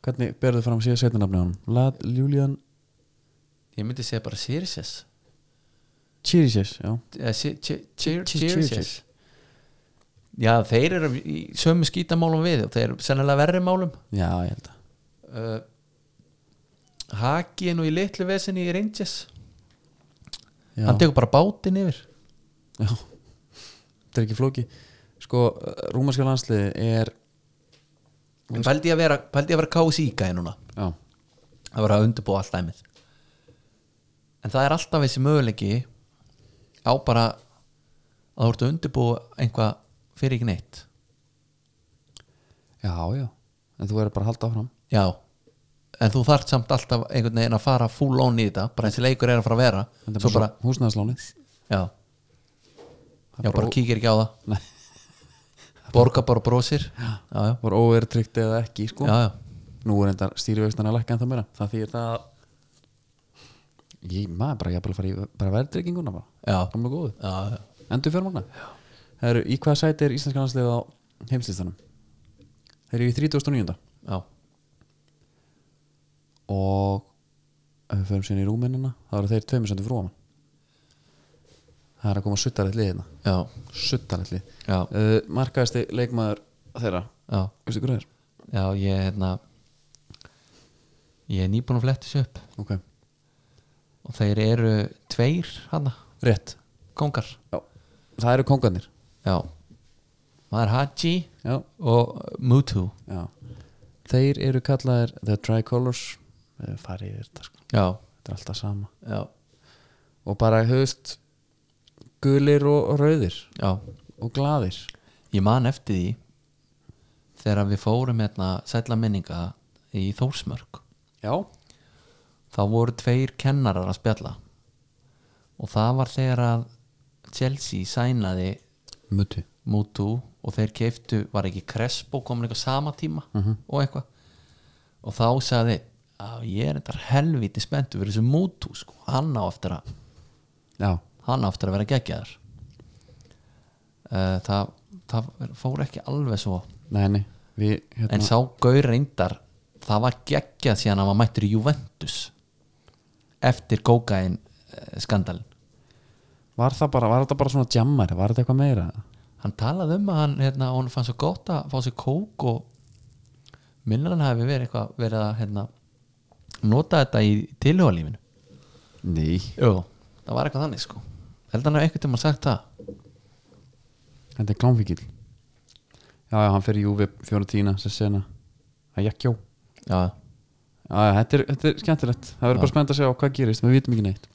S1: hvernig berðu fram síðan setjanafni á hann, Vlad Julian
S2: ég myndi segja bara Sirius
S1: Chirises, já
S2: Eh, Sirius Já, þeir eru í sömu skítamálum við og þeir eru sennilega verri málum
S1: já, ég held að
S2: uh, Haki er nú í litlu vesinni í Rangers
S1: já,
S2: hann tekur bara bátinn yfir
S1: já. þetta er ekki flóki sko, rúmarska landsliði er
S2: En pældi ég að vera, pældi ég að vera kási í gæði núna
S1: já,
S2: að vera að undirbúa allt dæmið en það er alltaf þessi möguleiki á bara að þú ert að undirbúa einhvað fyrir ekki neitt
S1: já, já en þú verður bara að halda áfram
S2: já, en þú þarft samt alltaf einhvern veginn að fara full on í þetta bara þessi leikur er að fara að vera
S1: Þetta er
S2: svo bara,
S1: húsnæðisláni
S2: já, já bara kíkir ekki á það
S1: Nei.
S2: borga bara og brósir já, já,
S1: var overtryggt eða ekki sko.
S2: já, já.
S1: nú er þetta stýrivöxtan að lækka en það meira það þýðir það að ég maður bara jafnvel að fara í bara verðtrygginguna bara,
S2: Já.
S1: gamla góðu
S2: já, já.
S1: endur fjármagna Heru, í hvaða sæti er íslenska landslið á heimslistanum þeir eru í 39.
S2: já.
S1: og ef við förum síðan í rúmennina þá eru þeir tveimur sendur frúaman það er að koma suttarlegt lið hérna
S2: já.
S1: suttarlegt lið
S2: Já.
S1: uh, markaðasti leikmaður þeirra
S2: já.
S1: veistu hvað það er?
S2: já ég, hérna ég er nýbúin að fletta þessu upp
S1: ok,
S2: og þeir eru tveir hana,
S1: rétt
S2: kongar
S1: Já. það eru kongarnir
S2: já, maður Haji
S1: Já.
S2: og Mutu
S1: Já. þeir eru kallaðir The Tricolors Eh, farið yfir þetta sko,
S2: já,
S1: þetta er alltaf sama
S2: já,
S1: og bara höfst gulir og og rauðir
S2: já
S1: og glaðir
S2: ég man eftir því þegar við fórum hérna sætla minninga í Þórsmörk
S1: já,
S2: þá voru tveir kennarar að spjalla og það var þegar að Chelsea sænaði
S1: mutu
S2: Mutu og þeir keiftu var ekki Crespo komin eitthvað sama tíma og eitthvað og þá sagði að ég er þetta helviti spenntu fyrir þessu Mutu sko. hann á eftir að
S1: já,
S2: hann á eftir að vera geggjaður uh, það, það fór ekki alveg svo
S1: nei, nei við,
S2: en
S1: hérna,
S2: sá Gaur reyndar það var geggjað síðan hann var mættur í Juventus eftir kókain uh, skandalin
S1: var það bara var þetta bara svona jammar, var þetta eitthvað meira
S2: hann talaði um að hann, hérna, hann fann svo gott að fá sér kók og minnur hann hafi verið eitthvað verið að hérna, nota þetta í tilhjóðalífinu
S1: nei,
S2: Jú. það var eitthvað þannig sko held hann hafi eitthvað til maður sagt það
S1: þetta er klámfíkil já, já, hann fer í UV fjóratína, sem sena það er jakkjó
S2: já.
S1: já, já, þetta er, þetta er skemmtilegt, það verður bara spennt að sjá hvað gerist, við vitum ekki neitt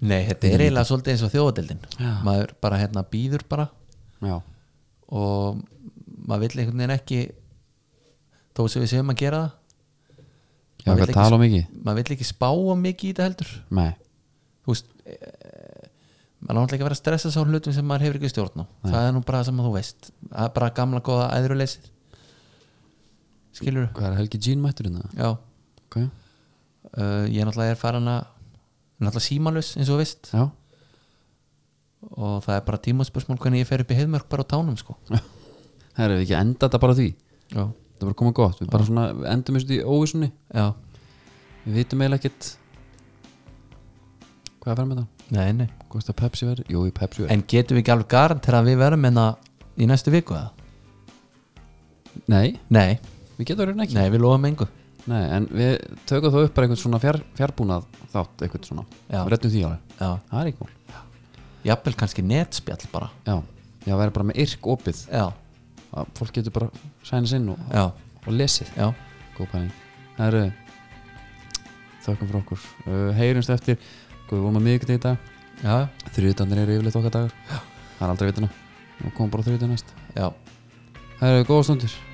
S2: nei, þetta er eiginlega svolítið eins og þjóðadeldin maður bara hérna býður bara
S1: já,
S2: og maður vill einhvern veginn ekki þó sem við séum að gera
S1: já,
S2: það
S1: hvað tala um ekki
S2: sp- maður vill ekki spá of mikið í þetta heldur
S1: nei,
S2: þú veist e, maður náttúrulega ekki að vera að stressa sá hlutum sem maður hefur ekki stjórn á það er nú bara það sem þú veist það er bara gamla góða æðruleysið skilur
S1: hvað er Helgi Jean hérna? mætturinn það?
S2: já,
S1: ok,
S2: uh, ég náttúrulega er farin að náttúrulega símalus eins og þú veist
S1: já
S2: og það er bara tímaspörsmál hvernig ég fer upp í heiðmörk bara á tánum sko
S1: herru, við ekki að enda þetta bara á því
S2: já,
S1: það var að koma gott, við bara svona við endum þessu í óvissunni,
S2: já,
S1: við vitum eiginlega ekkert hvað er að vera með það?
S2: nei, nei
S1: hvað er það Pepsi verður? Jú, í Pepsi verður
S2: en getum við ekki alveg garantera að við verðum en í næstu viku eða?
S1: nei,
S2: nei,
S1: við getum verið ekki
S2: nei, við lofum engu
S1: nei, en við tökum þá upp bara einhvern svona fjár, fjárbúnað þátt, einhvern svona
S2: Já.
S1: við rettum því alveg,
S2: já,
S1: það er ekki mál
S2: jafnvel kannski netspjall bara
S1: já, já, verður bara með yrk opið
S2: já,
S1: að fólk getur bara sænis inn og,
S2: já,
S1: og lesið
S2: já
S1: góð pæling herru, þökkum fyrir okkur uh, heyrumst eftir, hvað við vorum að miðvikudegi í dag
S2: já,
S1: þriðutandir eru yfirleitt okkar dagar það er aldrei vitina og komum bara þriðutan næst
S2: já
S1: það eru góða stundir